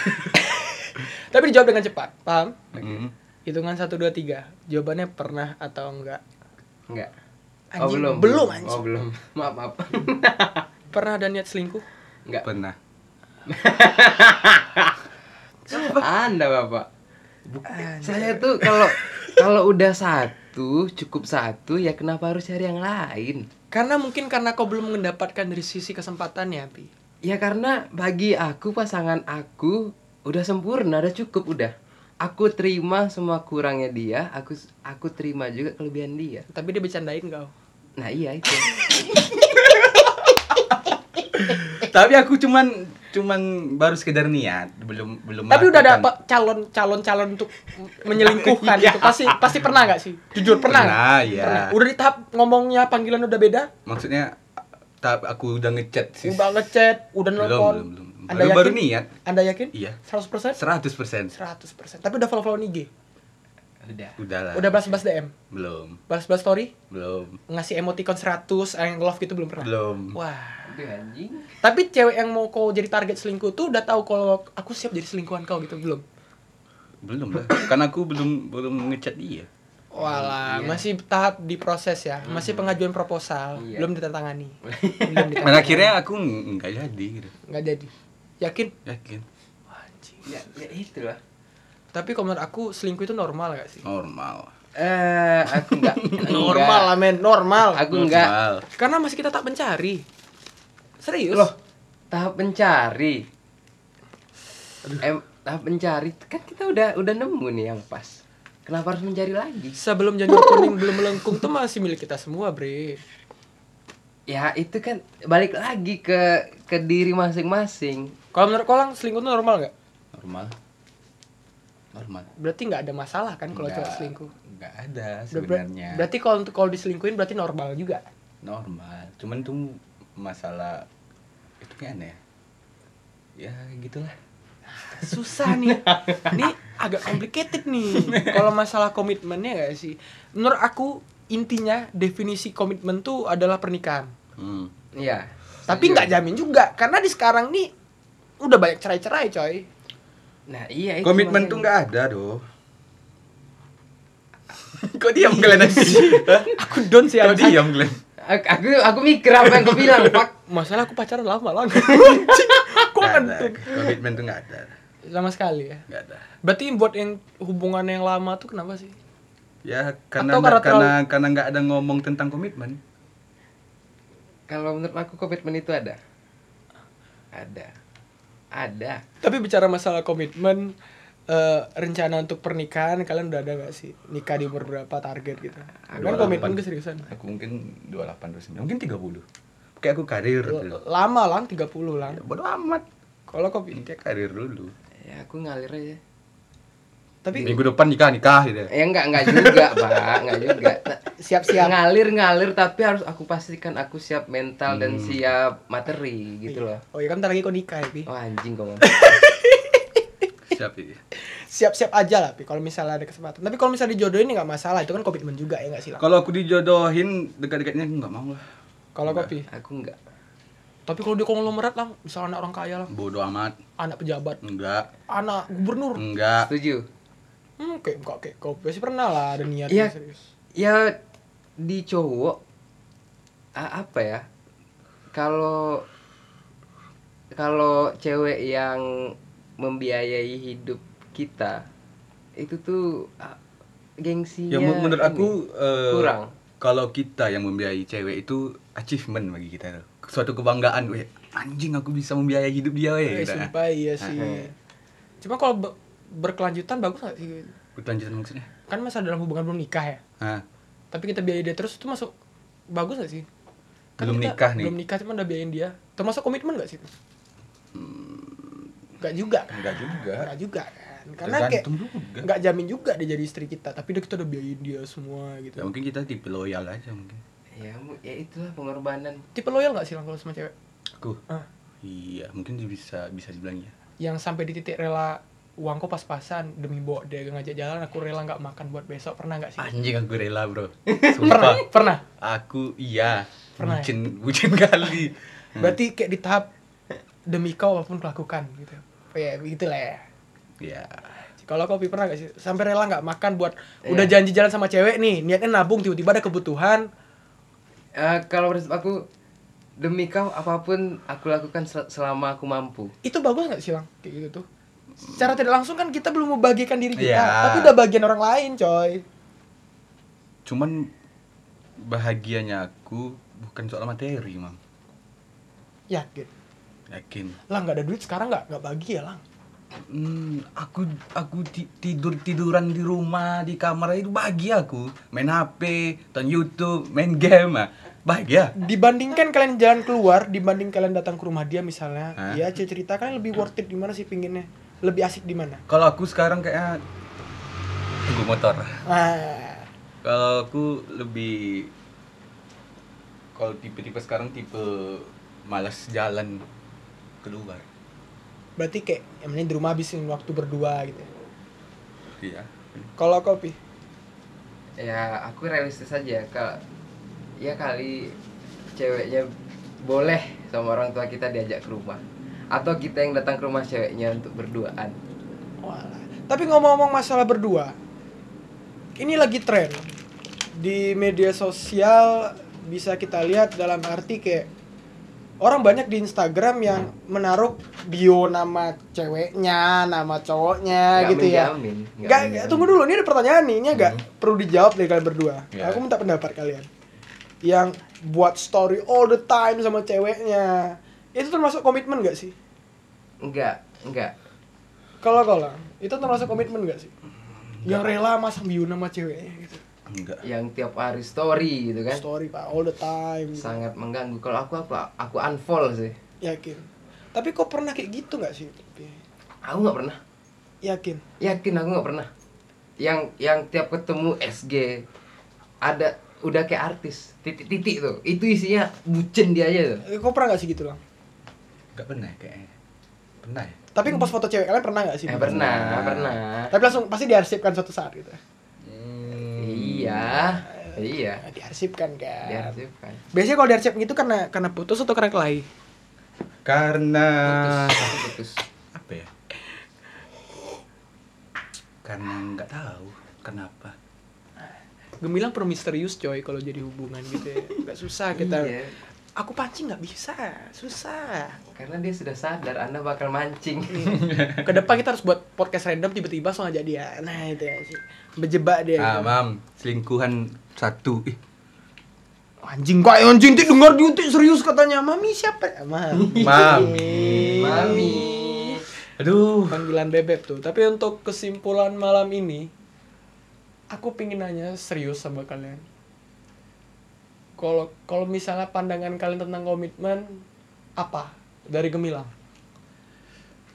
Speaker 2: tapi dijawab dengan cepat. Paham?
Speaker 3: Mm.
Speaker 2: Hitungan 1 2 3. Jawabannya pernah atau enggak?
Speaker 4: Enggak.
Speaker 2: Anjing, Oh, belum, anjing.
Speaker 4: Oh, belum. [LAUGHS] Maaf, maaf.
Speaker 2: Pernah ada niat selingkuh?
Speaker 4: Enggak.
Speaker 3: Pernah.
Speaker 4: Anda, Bapak. Saya tuh kalau kalau udah satu cukup satu ya kenapa harus cari yang lain?
Speaker 2: Karena mungkin karena kau belum mendapatkan dari sisi kesempatannya, Pi.
Speaker 4: Ya karena bagi aku pasangan aku udah sempurna, udah cukup udah. Aku terima semua kurangnya dia, aku aku terima juga kelebihan dia.
Speaker 2: Tapi dia bercandain kau.
Speaker 4: Nah iya itu.
Speaker 2: Eh.
Speaker 3: Tapi aku cuman cuman baru sekedar niat, belum belum
Speaker 2: Tapi udah ada
Speaker 3: melakukan.
Speaker 2: apa- calon calon calon untuk [LAUGHS] menyelingkuhkan gitu. Pasti pasti pernah nggak sih? Jujur pernah. nggak?
Speaker 3: Pernah, iya.
Speaker 2: Pernah. Udah di tahap ngomongnya panggilan udah beda,
Speaker 3: Maksudnya tahap aku udah ngechat sih.
Speaker 2: udah ngechat, udah
Speaker 3: Belum,
Speaker 2: nelpon.
Speaker 3: belum, belum.
Speaker 2: Anda
Speaker 3: Baru-
Speaker 2: yakin?
Speaker 3: baru niat.
Speaker 2: Anda yakin?
Speaker 3: Iya. 100%
Speaker 2: 100%? 100%. Tapi udah follow-follow IG.
Speaker 4: Udah.
Speaker 3: Udah lah.
Speaker 2: [LAUGHS] Udah balas-balas DM,
Speaker 3: Belum,
Speaker 2: balas-balas story,
Speaker 3: belum,
Speaker 2: ngasih emoticon 100, yang love gitu belum pernah.
Speaker 3: belum.
Speaker 2: Wah.
Speaker 4: Aduh anjing.
Speaker 2: Tapi cewek yang mau kau jadi target selingkuh tuh udah tahu kalau aku siap jadi selingkuhan kau gitu belum?
Speaker 3: Belum lah. Karena aku belum belum ngechat dia.
Speaker 2: Walah, masih tahap di proses ya, masih pengajuan proposal,
Speaker 4: Hmm. Iya.
Speaker 2: belum
Speaker 4: [LAUGHS]
Speaker 2: ditandatangani. belum
Speaker 3: Dan akhirnya aku ng- nggak jadi gitu.
Speaker 2: nggak jadi. Yakin?
Speaker 3: Yakin.
Speaker 2: Anjing.
Speaker 4: Ya, ya itu lah.
Speaker 2: Tapi kalau menurut aku selingkuh itu normal gak sih?
Speaker 3: Normal.
Speaker 4: Eh,
Speaker 2: [LAUGHS]
Speaker 4: aku enggak.
Speaker 2: Normal lah men, normal.
Speaker 4: Aku enggak.
Speaker 3: Normal.
Speaker 2: Karena masih kita tak mencari. Serius?
Speaker 4: Loh, tahap mencari. Em, tahap mencari kan kita udah udah nemu nih yang pas. Kenapa harus mencari lagi?
Speaker 2: Sebelum janur kuning belum melengkung tuh masih milik kita semua, Bre.
Speaker 4: Ya itu kan balik lagi ke ke diri masing-masing.
Speaker 2: Kalau menurut Kolang selingkuh itu normal gak?
Speaker 3: Normal. Normal.
Speaker 2: Berarti nggak ada masalah kan kalau cowok
Speaker 3: Nggak-
Speaker 2: selingkuh?
Speaker 3: nggak ada
Speaker 2: Udah ber-
Speaker 3: sebenarnya.
Speaker 2: berarti kalau untuk kalau diselingkuhin berarti normal juga.
Speaker 3: normal. Cuman tuh masalah itu kayak aneh. Ya Ya, gitulah.
Speaker 2: Susah
Speaker 3: [LAUGHS]
Speaker 2: nih. Ini agak complicated nih. Kalau masalah komitmennya gak sih? Menurut aku intinya definisi komitmen tuh adalah pernikahan.
Speaker 3: Hmm.
Speaker 4: Iya.
Speaker 2: Tapi nggak jamin juga karena di sekarang nih udah banyak cerai-cerai coy.
Speaker 4: Nah,
Speaker 2: Eh,
Speaker 4: iya itu.
Speaker 3: Komitmen
Speaker 4: makanya.
Speaker 3: tuh nggak ada
Speaker 2: [LAUGHS]
Speaker 3: doh. Kok diam kalian? [LAUGHS] Hah?
Speaker 2: Aku down sih
Speaker 3: Kok [LAUGHS]
Speaker 2: anjing.
Speaker 3: diam kalian?
Speaker 4: Aku aku, aku mikir apa yang kau bilang, Pak.
Speaker 2: Masalah aku pacaran lama lah.
Speaker 3: [LAUGHS]
Speaker 2: Anjing. Aku
Speaker 3: Nggak
Speaker 2: kan
Speaker 3: ada. Komitmen tuh nggak ada.
Speaker 2: sama sekali ya.
Speaker 3: Nggak ada.
Speaker 2: Berarti buat yang hubungan yang lama tuh kenapa sih?
Speaker 3: Ya karena
Speaker 2: Atau karena
Speaker 3: karena karena nggak ada ngomong tentang komitmen.
Speaker 4: Kalau menurut aku komitmen itu ada. Ada. Ada.
Speaker 2: Tapi bicara masalah komitmen eh, rencana untuk pernikahan kalian udah ada gak sih nikah di umur berapa target gitu kan komitmen keseriusan
Speaker 3: Aku mungkin 28 29, mungkin 30. Kayak aku karir dulu.
Speaker 2: lama lang 30 lang
Speaker 3: Ya, bodo amat.
Speaker 2: kalau kopi
Speaker 3: Ini kayak karir dulu.
Speaker 4: Ya aku ngalir aja.
Speaker 2: tapi
Speaker 3: Minggu depan nikah nikah gitu.
Speaker 4: Ya enggak enggak
Speaker 3: [LAUGHS]
Speaker 4: juga, Pak. Enggak juga. Nah,
Speaker 2: siap-siap
Speaker 4: ngalir ngalir tapi harus aku pastikan aku siap mental
Speaker 3: Hmm.
Speaker 4: dan siap materi gitu loh.
Speaker 2: oh iya kan ntar lagi kau nikah ya pi
Speaker 4: Oh anjing kau. Mam.
Speaker 3: Siap ya.
Speaker 2: siap-siap aja lah pi kalau misalnya ada kesempatan tapi kalau misalnya dijodohin nggak masalah itu kan komitmen juga ya nggak sih Lang?
Speaker 3: Kalau aku dijodohin dekat-dekatnya nggak mau lah.
Speaker 2: kalau kopi
Speaker 4: Aku enggak.
Speaker 2: tapi kalau di konglomerat lang misalnya anak orang kaya lang
Speaker 3: Bodo amat.
Speaker 2: anak pejabat
Speaker 3: Enggak.
Speaker 2: anak gubernur
Speaker 3: Enggak.
Speaker 4: Setuju.
Speaker 2: hmm kayak enggak kayak kau pasti pernah lah ada niat
Speaker 4: Iya.
Speaker 2: serius
Speaker 4: Ya di cowok a- apa ya? Kalau kalau cewek yang membiayai hidup kita itu tuh a-
Speaker 2: Iya,
Speaker 4: gengsinya
Speaker 3: Ya mu- menurut
Speaker 4: ini.
Speaker 3: aku eh,
Speaker 4: kurang.
Speaker 3: Kalau kita yang membiayai cewek itu achievement bagi kita. tuh. Suatu kebanggaan. Weh, anjing aku bisa membiayai hidup dia weh.
Speaker 2: Eh,
Speaker 3: Gitu.
Speaker 2: sumpah iya sih. Cuma kalau be- berkelanjutan bagus gak sih?
Speaker 3: Berkelanjutan maksudnya.
Speaker 2: Kan masa dalam hubungan belum nikah ya.
Speaker 3: Hah.
Speaker 2: Tapi kita biayain dia terus itu masuk bagus gak sih? Kan
Speaker 3: Belum
Speaker 2: kita
Speaker 3: nikah nih.
Speaker 2: Belum nikah cuma udah biayain dia. Termasuk komitmen gak sih? Gak juga kan?
Speaker 3: Enggak Hmm. juga.
Speaker 2: Gak juga kan? Karena kayak
Speaker 3: Tergantung juga.
Speaker 2: gak jamin juga dia jadi istri kita. Tapi dia kita udah biayain dia semua
Speaker 3: Ya
Speaker 2: gitu.
Speaker 3: mungkin kita tipe loyal aja mungkin.
Speaker 4: Ya, mu- ya itulah pengorbanan.
Speaker 2: Tipe loyal gak sih Lang, kalau sama cewek?
Speaker 3: Aku.
Speaker 2: Ah.
Speaker 3: Iya, mungkin dia bisa bisa dibilang ya.
Speaker 2: Yang sampai di titik rela uangku pas-pasan demi bawa dia ngajak jalan aku rela nggak makan buat besok pernah nggak sih
Speaker 3: Anjing aku rela, Bro. ya?
Speaker 2: pernah
Speaker 3: [LAUGHS] Sumpah.
Speaker 2: pernah
Speaker 3: aku iya.
Speaker 2: Pernah ya?
Speaker 3: Bucin, bucin [LAUGHS] kali.
Speaker 2: Berarti kayak di tahap demi kau apapun kulakukan gitu. Oh, ya begitu lah ya.
Speaker 3: Ya.
Speaker 2: Kalau kopi pernah gak sih sampai rela nggak makan buat
Speaker 4: Iya.
Speaker 2: udah janji jalan sama cewek nih niatnya nabung tiba-tiba ada kebutuhan
Speaker 4: Eh, kalau prinsip aku demi kau apapun aku lakukan sel- selama aku mampu.
Speaker 2: itu bagus nggak sih lang kayak gitu tuh secara tidak langsung kan kita belum membagikan diri kita
Speaker 3: Iya.
Speaker 2: tapi udah bagian orang lain coy
Speaker 3: Cuman bahagianya aku bukan soal materi, Mam.
Speaker 2: yakin
Speaker 3: Yakin.
Speaker 2: Ya, gitu. lah nggak ada duit sekarang nggak nggak bahagia lang
Speaker 3: Hmm, aku aku ti- tidur tiduran di rumah di kamar itu bahagia aku main HP, tonton YouTube, main game ah. bahagia
Speaker 2: dibandingkan kalian jalan keluar dibanding kalian datang ke rumah dia misalnya
Speaker 3: Hah?
Speaker 2: ya cerita cerita kalian lebih worth it di mana sih pinginnya lebih asik di mana
Speaker 3: kalau aku sekarang kayaknya tunggu motor
Speaker 2: ah
Speaker 3: kalau aku lebih kalau tipe-tipe sekarang tipe malas jalan keluar
Speaker 2: berarti kayak yang mending di rumah habisin waktu berdua gitu
Speaker 3: iya
Speaker 2: kalau kopi
Speaker 4: ya aku realistis aja kak ya kali ceweknya boleh sama orang tua kita diajak ke rumah atau kita yang datang ke rumah ceweknya untuk berduaan
Speaker 2: Walah. Tapi ngomong-ngomong masalah berdua, ini lagi tren di media sosial bisa kita lihat dalam arti kayak orang banyak di Instagram yang menaruh bio nama ceweknya, nama cowoknya
Speaker 4: Nggak
Speaker 2: gitu ya.
Speaker 4: menjamin, nggak Hmm.
Speaker 2: Nggak-
Speaker 4: menjamin.
Speaker 2: tunggu dulu, ini ada pertanyaan nih, ini agak perlu dijawab dari kalian berdua.
Speaker 4: Iya.
Speaker 3: Ya.
Speaker 2: Aku minta pendapat kalian. Yang buat story all the time sama ceweknya, itu termasuk komitmen gak sih?
Speaker 4: enggak enggak
Speaker 2: Kalau kalau itu termasuk komitmen gak sih?
Speaker 4: Hmm,
Speaker 2: Yang rela masang bio nama ceweknya gitu.
Speaker 3: enggak
Speaker 4: yang tiap hari story gitu kan
Speaker 2: Story pak all the time gitu.
Speaker 4: sangat mengganggu kalau aku aku aku unfollow sih
Speaker 2: Yakin. Tapi kok pernah kayak gitu gak sih? Pi?
Speaker 4: aku nggak pernah
Speaker 2: Yakin.
Speaker 4: yakin aku nggak pernah yang yang tiap ketemu SG ada udah kayak artis titik-titik tuh itu isinya bucin dia aja tuh
Speaker 2: Eh, Kok pernah gak sih gitu loh?
Speaker 3: enggak pernah ya, kayaknya pernah ya
Speaker 2: Tapi ngepost foto cewek kalian pernah gak sih?
Speaker 4: eh, pernah pernah
Speaker 2: Tapi langsung pasti diarsipkan suatu saat gitu.
Speaker 4: iya iya
Speaker 2: Nah, diarsipkan kan.
Speaker 4: diarsipkan
Speaker 2: Biasanya kalau diarsip gitu karena karena putus atau karena kelahi.
Speaker 3: karena
Speaker 2: Ah.
Speaker 4: putus aku putus
Speaker 3: apa ya karena nggak tahu kenapa
Speaker 2: Gemilang per misterius coy kalau jadi hubungan gitu ya. Gak susah kita.
Speaker 4: Iya,
Speaker 2: Aku pancing nggak bisa, susah.
Speaker 4: karena dia sudah sadar anda bakal mancing
Speaker 2: ke depan kita harus buat podcast random tiba-tiba soal jadian nah itu ya sih berjebak dia
Speaker 3: ah mam selingkuhan satu ih
Speaker 2: anjing kok anjing tik dengar diutik serius katanya mami siapa Ah, mami Iya.
Speaker 3: Mami.
Speaker 4: mami
Speaker 3: aduh
Speaker 2: panggilan bebek tuh tapi untuk kesimpulan malam ini aku pingin nanya serius sama kalian kalau kalau misalnya pandangan kalian tentang komitmen apa dari gemilang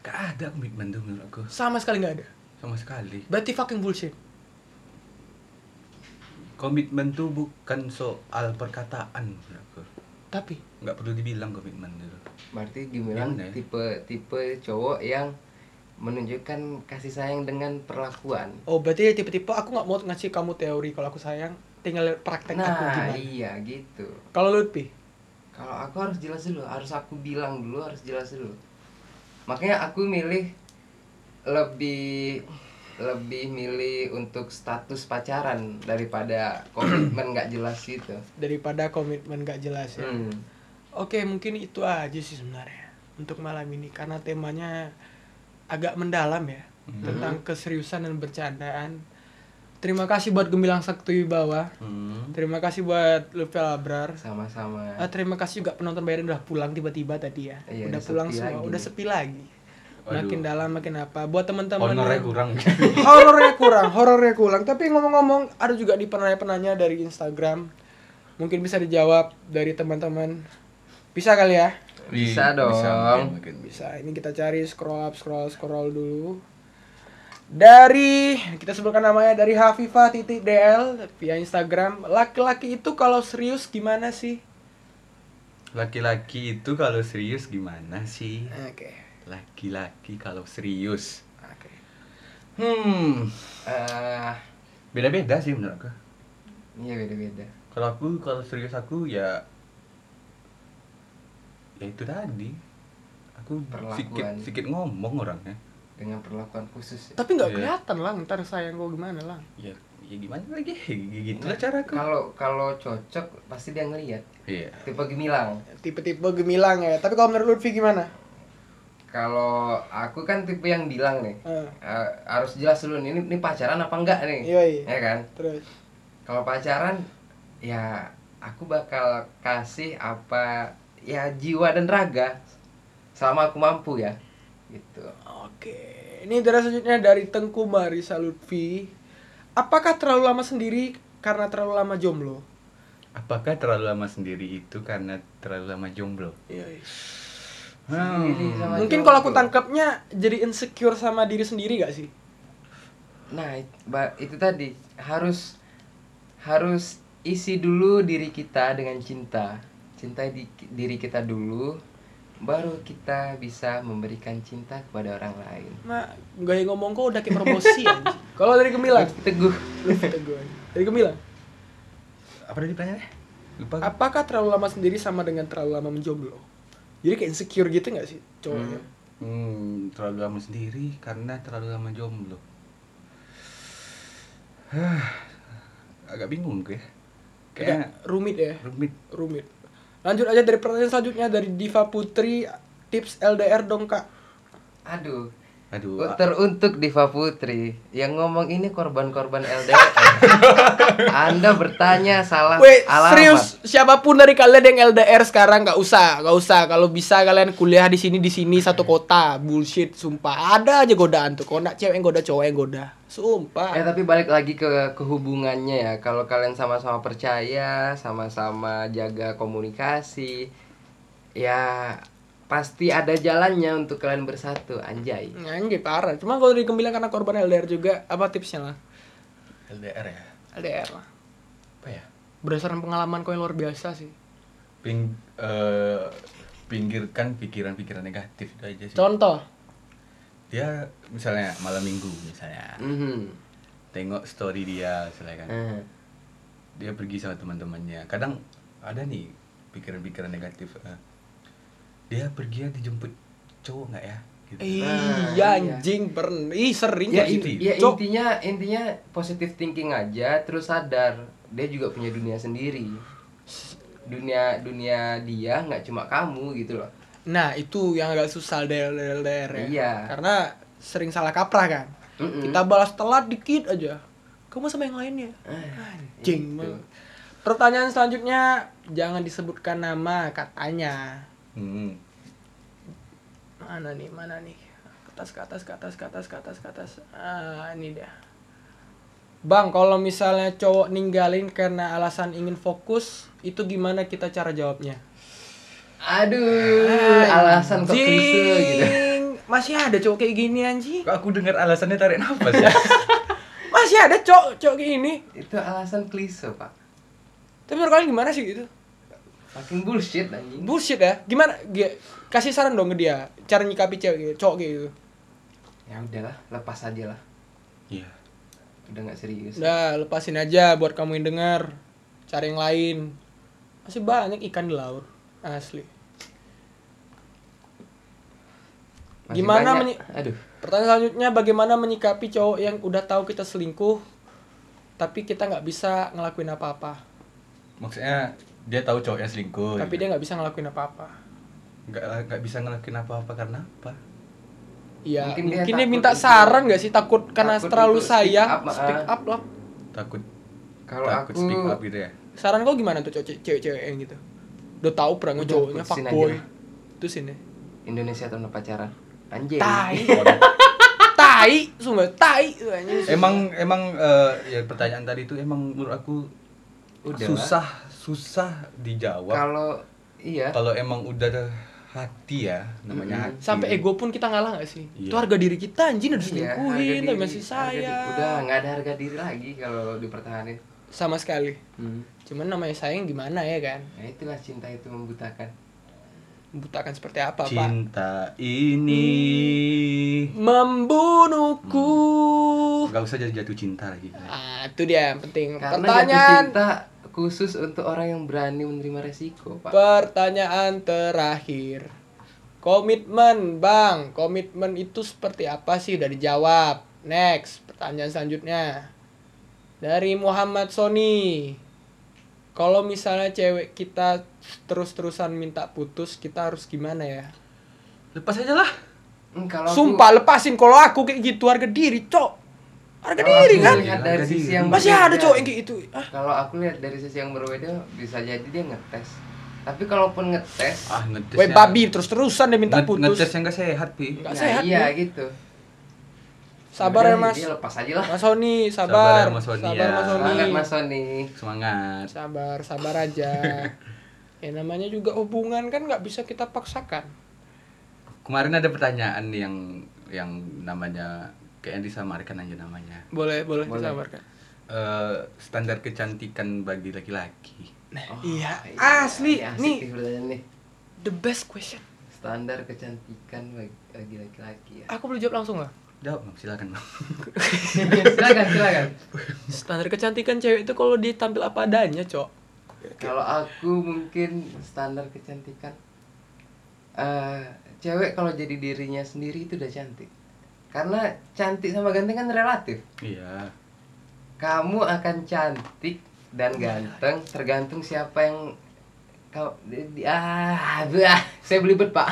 Speaker 3: gak ada komitmen tuh menurut aku
Speaker 2: sama sekali nggak ada
Speaker 3: sama sekali
Speaker 2: berarti fucking bullshit
Speaker 3: komitmen tuh bukan soal perkataan menurut aku
Speaker 2: tapi
Speaker 3: nggak perlu dibilang komitmen itu
Speaker 4: berarti gimana
Speaker 3: Gimana ya?
Speaker 4: tipe tipe cowok yang menunjukkan kasih sayang dengan perlakuan
Speaker 2: oh berarti tipe-tipe aku nggak mau ngasih kamu teori kalau aku sayang tinggal lihat praktek aku
Speaker 4: nah
Speaker 2: gimana
Speaker 4: iya gitu
Speaker 2: Kalau Lutfi,
Speaker 4: kalau aku harus jelas dulu harus aku bilang dulu harus jelas dulu makanya aku milih lebih lebih milih untuk status pacaran daripada komitmen nggak jelas gitu
Speaker 2: daripada komitmen gak jelas ya.
Speaker 4: Hmm.
Speaker 2: Oke, mungkin itu aja sih sebenarnya untuk malam ini karena temanya agak mendalam ya tentang keseriusan dan bercandaan. Terima kasih buat Gemilang Sakti Bawah.
Speaker 4: Hmm.
Speaker 2: Terima kasih buat Lutfi Labrar.
Speaker 4: sama-sama
Speaker 2: Ah, terima kasih juga penonton bayaran udah pulang tiba-tiba tadi ya.
Speaker 4: Iya,
Speaker 2: udah
Speaker 4: udah
Speaker 2: pulang
Speaker 4: sepi
Speaker 2: semua,
Speaker 4: lagi.
Speaker 2: udah sepi lagi. Makin
Speaker 3: Waduh.
Speaker 2: dalam makin apa. Buat teman-teman
Speaker 3: honornya
Speaker 2: [LAUGHS]
Speaker 3: [LAUGHS] kurang
Speaker 2: horornya kurang, horornya kurang. Tapi ngomong-ngomong, ada juga di penanya-penanya dari Instagram. Mungkin bisa dijawab dari teman-teman. Bisa kali ya?
Speaker 4: Bisa dong.
Speaker 3: Iya, mungkin, mungkin.
Speaker 2: Bisa. Ini kita cari scroll up, scroll, scroll dulu. Dari kita sebutkan namanya dari Hafifa titik DL via Instagram. Laki-laki itu kalau serius gimana sih?
Speaker 3: laki-laki itu kalau serius gimana sih
Speaker 2: Oke.
Speaker 3: laki-laki kalau serius
Speaker 2: Oke.
Speaker 3: hmm
Speaker 4: Eh,
Speaker 3: beda-beda sih menurut aku
Speaker 4: iya beda-beda
Speaker 3: kalau aku kalau serius aku ya ya itu tadi aku
Speaker 4: Perlakuan.
Speaker 3: sedikit sedikit ngomong orangnya
Speaker 4: dengan perlakuan khusus ya.
Speaker 2: Tapi nggak
Speaker 3: Iya.
Speaker 2: kelihatan lah, ntar sayang gua gimana lah.
Speaker 3: ya ya gimana lagi gitu lah cara aku
Speaker 4: Nah, kalau kalau cocok pasti dia ngelihat
Speaker 3: iya
Speaker 4: tipe gemilang
Speaker 2: Tipe-tipe gemilang ya. Tapi kalau menurut Lutfi gimana?
Speaker 4: kalau aku kan tipe yang bilang nih
Speaker 2: Eh,
Speaker 4: eh, harus jelas dulu nih ini, ini pacaran apa enggak nih
Speaker 2: Yoi.
Speaker 4: ya kan
Speaker 2: terus.
Speaker 4: kalau pacaran ya aku bakal kasih apa ya jiwa dan raga selama aku mampu ya gitu
Speaker 2: Oke, ini dari selanjutnya dari Tengku Marisa Lutfi. Apakah terlalu lama sendiri karena terlalu lama jomblo?
Speaker 3: Apakah terlalu lama sendiri itu karena terlalu lama jomblo? Hmm.
Speaker 4: Sendiri sama
Speaker 2: Mungkin
Speaker 4: cowok.
Speaker 2: kalau aku tangkapnya jadi insecure sama diri sendiri gak sih?
Speaker 4: Nah, it- ba- itu tadi harus harus isi dulu diri kita dengan cinta. Cintai di- diri kita dulu, baru kita bisa memberikan cinta kepada orang lain.
Speaker 2: Nah, gaya ngomong kok udah kayak [LAUGHS] promosi anjing. Kalau dari Gemilang,
Speaker 4: Teguh.
Speaker 2: Lupa gue. dari Gemilang,
Speaker 3: Apa tadi pertanyaannya? Lupa. aku.
Speaker 2: apakah terlalu lama sendiri sama dengan terlalu lama menjomblo? Jadi kayak insecure gitu gak sih cowoknya?
Speaker 3: Hmm, terlalu lama sendiri karena terlalu lama jomblo. [SIGHS] Hah, agak bingung gue.
Speaker 2: Agak
Speaker 3: Kayaknya
Speaker 2: rumit ya,
Speaker 3: rumit.
Speaker 2: rumit. Lanjut aja dari pertanyaan selanjutnya dari Diva Putri, tips LDR dong kak.
Speaker 4: Aduh.
Speaker 3: Aduh, ah. a-
Speaker 4: Teruntuk Diva Putri yang ngomong ini korban-korban LDR. Anda bertanya salah
Speaker 2: Weh,
Speaker 4: alamat.
Speaker 2: serius siapapun dari kalian yang LDR sekarang nggak usah, nggak usah. Kalau bisa kalian kuliah di sini di sini satu kota, bullshit, sumpah. Ada aja godaan tuh. Kalau nggak cewek yang goda, cowok yang goda, sumpah.
Speaker 4: Eh tapi balik lagi ke kehubungannya ya. Kalau kalian sama-sama percaya, sama-sama jaga komunikasi, ya pasti ada jalannya untuk kalian bersatu, anjay.
Speaker 2: Anjir parah. Cuma kalau dikembilang karena korban LDR juga, apa tipsnya lah?
Speaker 3: LDR ya.
Speaker 2: LDR lah.
Speaker 3: Apa ya?
Speaker 2: Berdasarkan pengalaman kau yang luar biasa sih.
Speaker 3: Ping, eh, pinggirkan pikiran-pikiran negatif itu aja sih.
Speaker 2: Contoh,
Speaker 3: Dia misalnya malam minggu misalnya.
Speaker 4: Mhm.
Speaker 3: Tengok story dia misalnya kan.
Speaker 4: Eh,
Speaker 3: dia pergi sama teman-temannya kadang ada nih pikiran-pikiran negatif eh, dia pergi ya dijemput cowok nggak ya gitu.
Speaker 2: iya anjing pernah. Ih sering
Speaker 4: Ya,
Speaker 2: kayak
Speaker 4: inti-
Speaker 2: gitu.
Speaker 4: ya
Speaker 2: Cok.
Speaker 4: intinya intinya positive thinking aja, terus sadar dia juga punya dunia sendiri. Dunia dunia dia nggak cuma kamu gitu loh.
Speaker 2: Nah itu yang agak susah LDR, LDR ya.
Speaker 4: Iya.
Speaker 2: Karena sering salah kaprah kan.
Speaker 4: Mm-mm.
Speaker 2: Kita balas telat dikit aja. Kamu sama yang lainnya.
Speaker 4: Ah,
Speaker 2: Anjing.
Speaker 4: itu.
Speaker 2: banget. Pertanyaan selanjutnya jangan disebutkan nama katanya.
Speaker 3: Hmm.
Speaker 2: mana nih mana nih ke atas ke atas ke atas ke atas ke atas ke atas ah ini dia bang kalau misalnya cowok ninggalin karena alasan ingin fokus itu gimana kita cara jawabnya
Speaker 4: Aduh, alasan kok klise gitu.
Speaker 2: Anjing, [LAUGHS] masih ada cowok kayak gini anjing
Speaker 3: kok aku dengar alasannya tarik nafas
Speaker 2: [LAUGHS]
Speaker 3: ya
Speaker 2: masih ada cowok cowok kayak gini
Speaker 4: Itu alasan klise, Pak.
Speaker 2: tapi menurut kalian gimana sih itu
Speaker 4: Fucking bullshit anjing.
Speaker 2: bullshit ya gimana Gi- kasih saran dong ke dia cara nyikapi cewek gitu, cowok kayak gitu
Speaker 4: ya udahlah, lepas aja lah.
Speaker 3: iya
Speaker 4: Udah nggak serius.
Speaker 2: udah lepasin aja buat kamu yang dengar cari yang lain masih banyak ikan di laut asli
Speaker 4: Masih
Speaker 2: Gimana
Speaker 4: banyak-
Speaker 2: menyi-
Speaker 4: Aduh.
Speaker 2: Pertanyaan selanjutnya bagaimana menyikapi cowok yang udah tahu kita selingkuh tapi kita nggak bisa ngelakuin apa-apa.
Speaker 3: maksudnya dia tahu cowoknya selingkuh
Speaker 2: tapi dia
Speaker 3: gitu.
Speaker 2: nggak bisa ngelakuin apa-apa.
Speaker 3: nggak nggak bisa ngelakuin apa-apa karena apa
Speaker 2: Iya,
Speaker 4: Mungkin
Speaker 2: mungkin,
Speaker 4: dia
Speaker 2: dia,
Speaker 4: takut
Speaker 2: minta
Speaker 4: untuk-
Speaker 2: saran nggak sih takut karena
Speaker 4: takut
Speaker 2: terlalu
Speaker 4: untuk speak
Speaker 2: sayang
Speaker 4: up,
Speaker 2: speak
Speaker 4: ah.
Speaker 2: up lah.
Speaker 3: takut
Speaker 4: Kalau
Speaker 3: takut
Speaker 4: aku
Speaker 3: speak up gitu
Speaker 4: [LAUGHS]
Speaker 3: ya
Speaker 2: Saran kau gimana tuh cowok- cewek-cewek yang gitu? Udah tahu pernah
Speaker 4: Udah,
Speaker 2: cowoknya
Speaker 4: putusin
Speaker 2: fuckboy.
Speaker 4: aja.
Speaker 2: Itu sini.
Speaker 4: Indonesia tahun pacaran. Anjing.
Speaker 2: Tai. tai, sumpah tai. Anjing.
Speaker 3: emang emang eh, ya pertanyaan tadi itu emang menurut aku
Speaker 4: Udah.
Speaker 3: susah susah dijawab
Speaker 4: Kalau iya,
Speaker 3: kalau emang udah hati ya namanya hati
Speaker 2: Sampai ego pun kita ngalah nggak sih?
Speaker 3: Iya.
Speaker 2: Itu harga diri kita anjing udah
Speaker 4: iya,
Speaker 2: diselingkuhin tapi
Speaker 4: diri,
Speaker 2: masih
Speaker 4: harga diri.
Speaker 2: sayang.
Speaker 4: Udah nggak ada harga diri lagi kalau dipertahanin.
Speaker 2: Sama sekali.
Speaker 4: Hmm.
Speaker 2: Cuman namanya sayang gimana ya kan?
Speaker 4: Nah, itulah cinta itu membutakan.
Speaker 2: Membutakan seperti apa, Pak?
Speaker 3: Cinta ini
Speaker 2: Membunuhku. Uh.
Speaker 3: Gak usah jadi jatuh cinta lagi
Speaker 2: Ah, itu dia yang penting.
Speaker 4: Karena jatuh
Speaker 2: pertanyaan
Speaker 4: cinta khusus untuk orang yang berani menerima resiko, Pak.
Speaker 2: pertanyaan terakhir. Komitmen, Bang. Komitmen itu seperti apa sih? Udah dijawab. Next, pertanyaan selanjutnya. Dari Muhammad Sony. Kalau misalnya cewek kita terus-terusan minta putus, kita harus gimana ya?
Speaker 3: Lepas aja lah
Speaker 4: Hmm, kalau aku-
Speaker 2: Sumpah lepasin kalau aku kayak gitu harga diri, cok. Harga
Speaker 4: Kalau
Speaker 2: diri
Speaker 4: aku
Speaker 2: kan?
Speaker 4: lihat
Speaker 3: Harga
Speaker 4: dari
Speaker 3: diri.
Speaker 4: sisi yang
Speaker 2: Masih ada
Speaker 4: berbeda.
Speaker 2: cowok yang kayak gitu. Ah,
Speaker 4: Kalau aku lihat dari sisi yang berbeda bisa jadi dia ngetes. Tapi kalaupun ngetes,
Speaker 3: Ah ngetes
Speaker 2: Weh babi terus-terusan dia minta putus.
Speaker 3: Ngetes yang gak sehat Pi
Speaker 2: Nggak
Speaker 4: nah
Speaker 2: sehat,
Speaker 4: iya
Speaker 2: Bu.
Speaker 4: gitu.
Speaker 2: Sabar ya
Speaker 4: ya Udah,
Speaker 2: mas.
Speaker 4: dia lepas aja lah
Speaker 2: Mas Sony,
Speaker 3: Sabar
Speaker 2: sabar.
Speaker 3: ya, Mas Sony,
Speaker 2: Sabar
Speaker 3: ya.
Speaker 2: Mas Sony. Iya,
Speaker 4: semangat mas Sony
Speaker 3: Semangat.
Speaker 2: Sabar, sabar [LAUGHS] aja. ya namanya juga hubungan kan nggak bisa kita paksakan.
Speaker 3: Kemarin ada pertanyaan nih yang yang namanya kayak disamarkan aja namanya.
Speaker 2: Boleh, boleh,
Speaker 3: Boleh.
Speaker 2: disabarkan.
Speaker 3: Eh, standar kecantikan bagi laki-laki.
Speaker 2: iya,
Speaker 4: iya,
Speaker 2: asli.
Speaker 4: iya, asik
Speaker 2: nih,
Speaker 4: nih pertanyaan nih
Speaker 2: the best question.
Speaker 4: standar kecantikan bagi- bagi laki-laki ya
Speaker 2: Aku boleh jawab langsung nggak?
Speaker 3: Jawab Bang, silakan
Speaker 2: [LAUGHS]
Speaker 3: Bang.
Speaker 4: [LAUGHS] silakan silakan
Speaker 2: Standar kecantikan cewek itu kalau dia tampil apa adanya, cok.
Speaker 4: kalau aku mungkin standar kecantikan eh cewek kalau jadi dirinya sendiri itu udah cantik karena cantik sama ganteng kan relatif
Speaker 3: Iya.
Speaker 4: kamu akan cantik dan ganteng tergantung siapa yang kau di, di- ah bah, saya belibet [LAUGHS] pak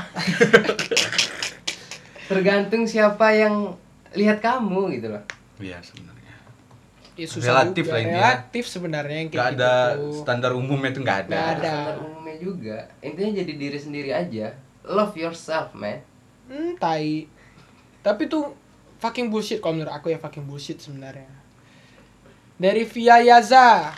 Speaker 4: tergantung siapa yang lihat kamu gitu loh
Speaker 3: Iya sebenarnya.
Speaker 2: Ya, susah
Speaker 3: Relatif
Speaker 2: juga.
Speaker 3: lah intinya.
Speaker 2: Relatif sebenarnya yang kayak
Speaker 3: Gak ada
Speaker 2: gitu tuh.
Speaker 3: standar umumnya itu nggak ada.
Speaker 2: Nggak ada.
Speaker 4: standar umumnya juga intinya jadi diri sendiri aja love yourself man
Speaker 2: Hmm, tai. Tapi tuh fucking bullshit kalau menurut aku ya fucking bullshit sebenarnya. Dari Via Yaza.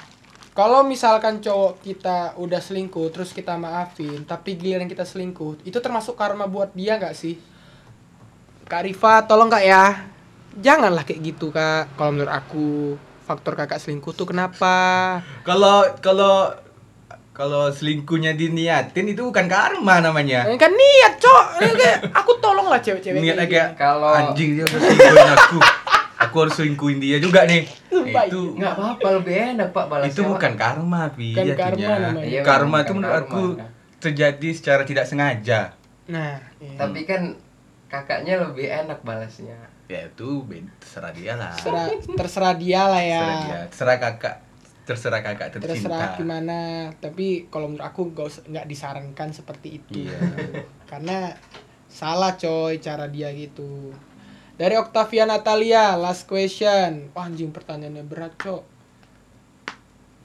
Speaker 2: Kalau misalkan cowok kita udah selingkuh terus kita maafin, tapi giliran kita selingkuh, itu termasuk karma buat dia nggak sih? Kak Rifa, tolong kak ya. Janganlah kayak gitu kak. Kalau menurut aku faktor kakak selingkuh tuh kenapa?
Speaker 3: Kalau kalau kalau selingkuhnya diniatin itu bukan karma namanya.
Speaker 2: Eh, Kan niat cok. Eh, kayak- Aku tolonglah cewek-cewek.
Speaker 3: Niat agak
Speaker 2: kayak
Speaker 4: Kalau-
Speaker 3: anjing dia udah selingkuhin
Speaker 2: [LAUGHS]
Speaker 3: aku. aku harus selingkuhin dia juga nih.
Speaker 2: Sumpah, iya.
Speaker 3: itu
Speaker 4: nggak apa-apa lebih enak pak balasnya
Speaker 3: itu bukan karma, Pi.
Speaker 2: Bukan
Speaker 3: artinya.
Speaker 2: karma namanya.
Speaker 4: Iya,
Speaker 3: karma
Speaker 4: bukan
Speaker 3: itu menurut
Speaker 4: karma.
Speaker 3: aku terjadi secara tidak sengaja.
Speaker 2: gini. Nah, iya.
Speaker 4: tapi kan kakaknya lebih enak balasnya
Speaker 3: Ya itu beda- terserah dia lah.
Speaker 2: terserah, terserah dia lah ya.
Speaker 3: Terserah dia. Terserah kakak. Terserah kakak tercinta.
Speaker 2: terserah gimana tapi kalau menurut aku gak us- nggak disarankan seperti itu
Speaker 3: Iya.
Speaker 2: [LAUGHS] karena salah coy cara dia gitu dari Octavia Natalia last question Wah, anjing pertanyaannya berat cok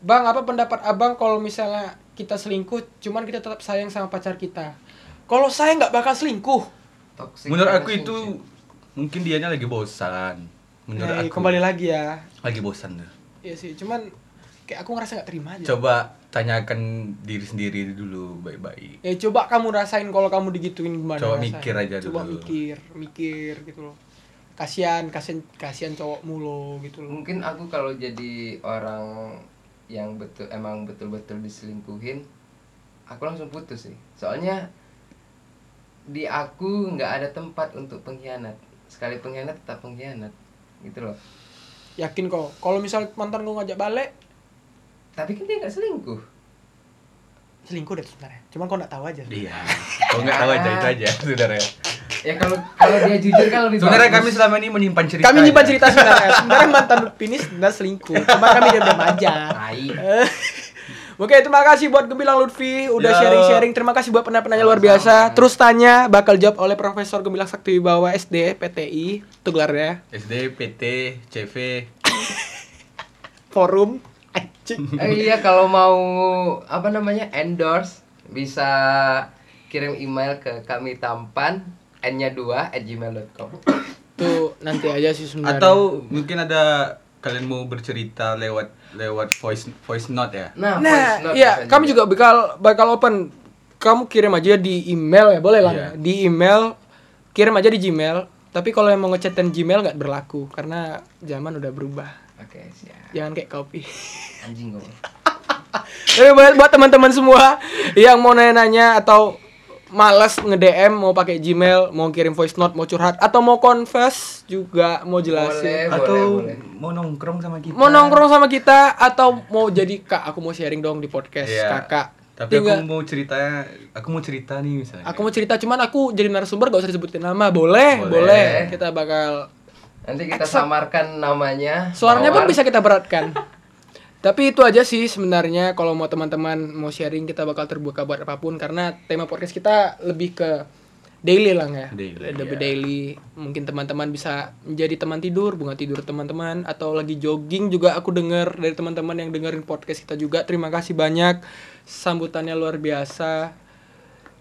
Speaker 2: bang apa pendapat abang kalau misalnya kita selingkuh cuman kita tetap sayang sama pacar kita kalau saya nggak bakal selingkuh
Speaker 4: toxic
Speaker 3: Menurut aku
Speaker 4: relationship.
Speaker 3: itu mungkin dianya lagi bosan. Menurut
Speaker 2: Nah,
Speaker 3: aku
Speaker 2: kembali lagi ya
Speaker 3: lagi bosan tuh.
Speaker 2: Iya sih cuman kayak aku ngerasa nggak terima aja
Speaker 3: Coba tanyakan diri sendiri dulu baik-baik.
Speaker 2: Ya coba kamu rasain kalau kamu digituin gimana
Speaker 3: Coba
Speaker 2: rasanya.
Speaker 3: mikir aja
Speaker 2: Coba
Speaker 3: dulu.
Speaker 2: mikir, mikir gitu loh. Kasihan, kasihan kasihan cowok mulu gitu loh.
Speaker 4: mungkin aku kalau jadi orang yang betul emang betul-betul diselingkuhin aku langsung putus sih soalnya di aku nggak ada tempat untuk pengkhianat sekali pengkhianat tetap pengkhianat gitu loh
Speaker 2: Yakin kok. Kalau misal mantan gue ngajak balik,
Speaker 4: tapi kan dia nggak selingkuh
Speaker 2: selingkuh deh sebenarnya. Cuman kau nggak tahu aja.
Speaker 3: Iya. Kalau nggak tahu aja itu aja, saudara.
Speaker 4: ya kalau kalau dia jujur kan lebih
Speaker 3: Sebenarnya
Speaker 4: bagus.
Speaker 3: kami selama ini menyimpan cerita. ya.
Speaker 2: Kami nyimpan
Speaker 3: aja.
Speaker 2: cerita sebenarnya. Sebenarnya mantan Lutfi ini sebenarnya selingkuh. Cuma kami diam aja.
Speaker 4: Tai.
Speaker 2: Oke, terima kasih buat Gemilang Lutfi udah
Speaker 3: Yo.
Speaker 2: sharing-sharing. Terima kasih buat penanya-penanya luar biasa. Terus tanya bakal jawab oleh Profesor Gemilang Sakti Wibawa SD PTI. Itu gelarnya.
Speaker 3: SD, PT, CV.
Speaker 2: Forum anjing.
Speaker 4: Eh, iya kalau mau apa namanya endorse bisa kirim email ke kami tampan n-nya 2 at gmail.com
Speaker 2: Tuh nanti aja sih sebenarnya.
Speaker 3: Atau mungkin ada kalian mau bercerita lewat lewat voice voice note ya?
Speaker 4: nah, voice
Speaker 2: Nah,
Speaker 4: note
Speaker 2: iya,
Speaker 4: bisa
Speaker 2: kami juga bakal bakal open. Kamu kirim aja di email ya, boleh lah.
Speaker 3: Iya.
Speaker 2: Di email, kirim aja di Gmail. Tapi kalau yang mau ngechatin Gmail nggak berlaku karena zaman udah berubah.
Speaker 4: oke siap
Speaker 2: Jangan kayak kopi. [LAUGHS]
Speaker 4: anjing gue
Speaker 2: Tapi buat, buat teman-teman semua yang mau nanya-nanya atau malas nge-DM mau pakai Gmail, mau kirim voice note, mau curhat atau mau confess juga mau jelasin.
Speaker 4: boleh boleh
Speaker 3: Atau
Speaker 4: boleh
Speaker 3: mau nongkrong sama kita?
Speaker 2: Mau nongkrong sama kita atau mau jadi Kak, aku mau sharing dong di podcast
Speaker 3: Iya.
Speaker 2: Kakak.
Speaker 3: Tapi
Speaker 2: Tinggal-
Speaker 3: aku mau cerita, aku mau cerita nih misalnya.
Speaker 2: Aku mau cerita cuman aku jadi narasumber gak usah disebutin nama. Boleh, boleh.
Speaker 3: Boleh.
Speaker 2: Kita bakal
Speaker 4: nanti kita samarkan namanya
Speaker 2: suaranya pun
Speaker 4: Mawar.
Speaker 2: bisa kita beratkan.
Speaker 3: [LAUGHS]
Speaker 2: Tapi itu aja sih sebenarnya kalau mau teman-teman mau sharing kita bakal terbuka buat apapun karena tema podcast kita lebih ke daily lah ya.
Speaker 3: Daily,
Speaker 2: lebih
Speaker 3: iya.
Speaker 2: daily. Mungkin teman-teman bisa menjadi teman tidur, bunga tidur teman-teman atau lagi jogging juga aku dengar dari teman-teman yang dengerin podcast kita juga. Terima kasih banyak. Sambutannya luar biasa.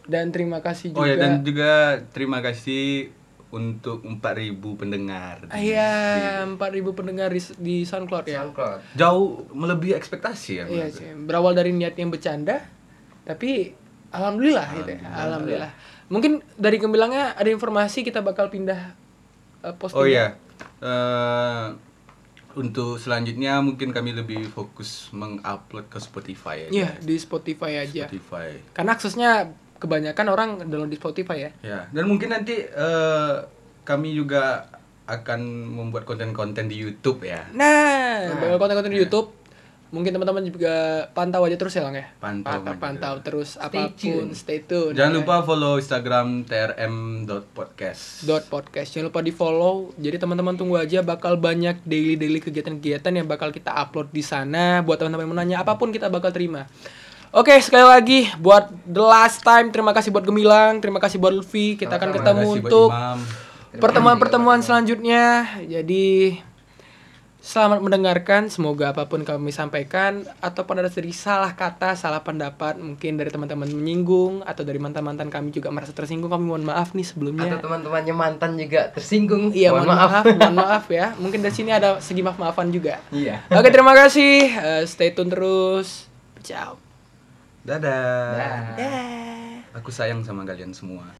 Speaker 2: Dan terima kasih juga.
Speaker 3: iya, Oh ya dan juga terima kasih untuk 4000 pendengar. di-
Speaker 2: Iya, 4000 pendengar di, di SoundCloud ya.
Speaker 4: SoundCloud.
Speaker 3: di- Jauh melebihi ekspektasi ya.
Speaker 2: Iya
Speaker 3: menurut
Speaker 2: sih, berawal dari niat yang bercanda, tapi alhamdulillah gitu ya, alhamdulillah. Mungkin dari Gembilangnya ada informasi kita bakal pindah eh, pos
Speaker 3: Oh
Speaker 2: pindah.
Speaker 3: ya, Eh, untuk selanjutnya mungkin kami lebih fokus mengupload ke Spotify ya,
Speaker 2: Iya,
Speaker 3: aja.
Speaker 2: di Spotify aja.
Speaker 3: Spotify.
Speaker 2: Karena aksesnya kebanyakan orang download di Spotify ya.
Speaker 3: Ya, dan mungkin nanti eh, kami juga akan membuat konten-konten di YouTube ya.
Speaker 2: Nah, bakal konten-konten di YouTube. Mungkin teman-teman juga pantau aja terus ya Lang ya.
Speaker 3: Pantau aja
Speaker 2: pantau terus apapun,
Speaker 4: tune.
Speaker 2: stay tune.
Speaker 3: Jangan
Speaker 2: ya.
Speaker 3: lupa follow Instagram trm.podcast.
Speaker 2: dot podcast jangan lupa di follow jadi teman-teman tunggu aja bakal banyak daily daily kegiatan-kegiatan yang bakal kita upload di sana buat teman-teman yang mau nanya apapun kita bakal terima oke sekali lagi buat the last time terima kasih buat Gemilang terima kasih buat Lutfi kita akan
Speaker 3: Terima
Speaker 2: ketemu
Speaker 3: kasih buat
Speaker 2: untuk
Speaker 3: Imam.
Speaker 2: pertemuan-pertemuan selanjutnya jadi selamat mendengarkan semoga apapun kami sampaikan ataupun ada sedikit salah kata salah pendapat mungkin dari teman-teman menyinggung atau dari mantan-mantan kami juga merasa tersinggung kami mohon maaf nih sebelumnya
Speaker 4: Atau teman-temannya mantan juga tersinggung.
Speaker 2: Iya, mohon
Speaker 4: Mohon
Speaker 2: maaf, mohon maaf ya. Mungkin dari sini ada segi maaf-maafan juga.
Speaker 4: Iya.
Speaker 2: Oke, terima kasih. Eh, stay tune terus. Ciao.
Speaker 3: Dadah.
Speaker 4: Dah.
Speaker 2: Eh,
Speaker 3: Aku sayang sama kalian semua.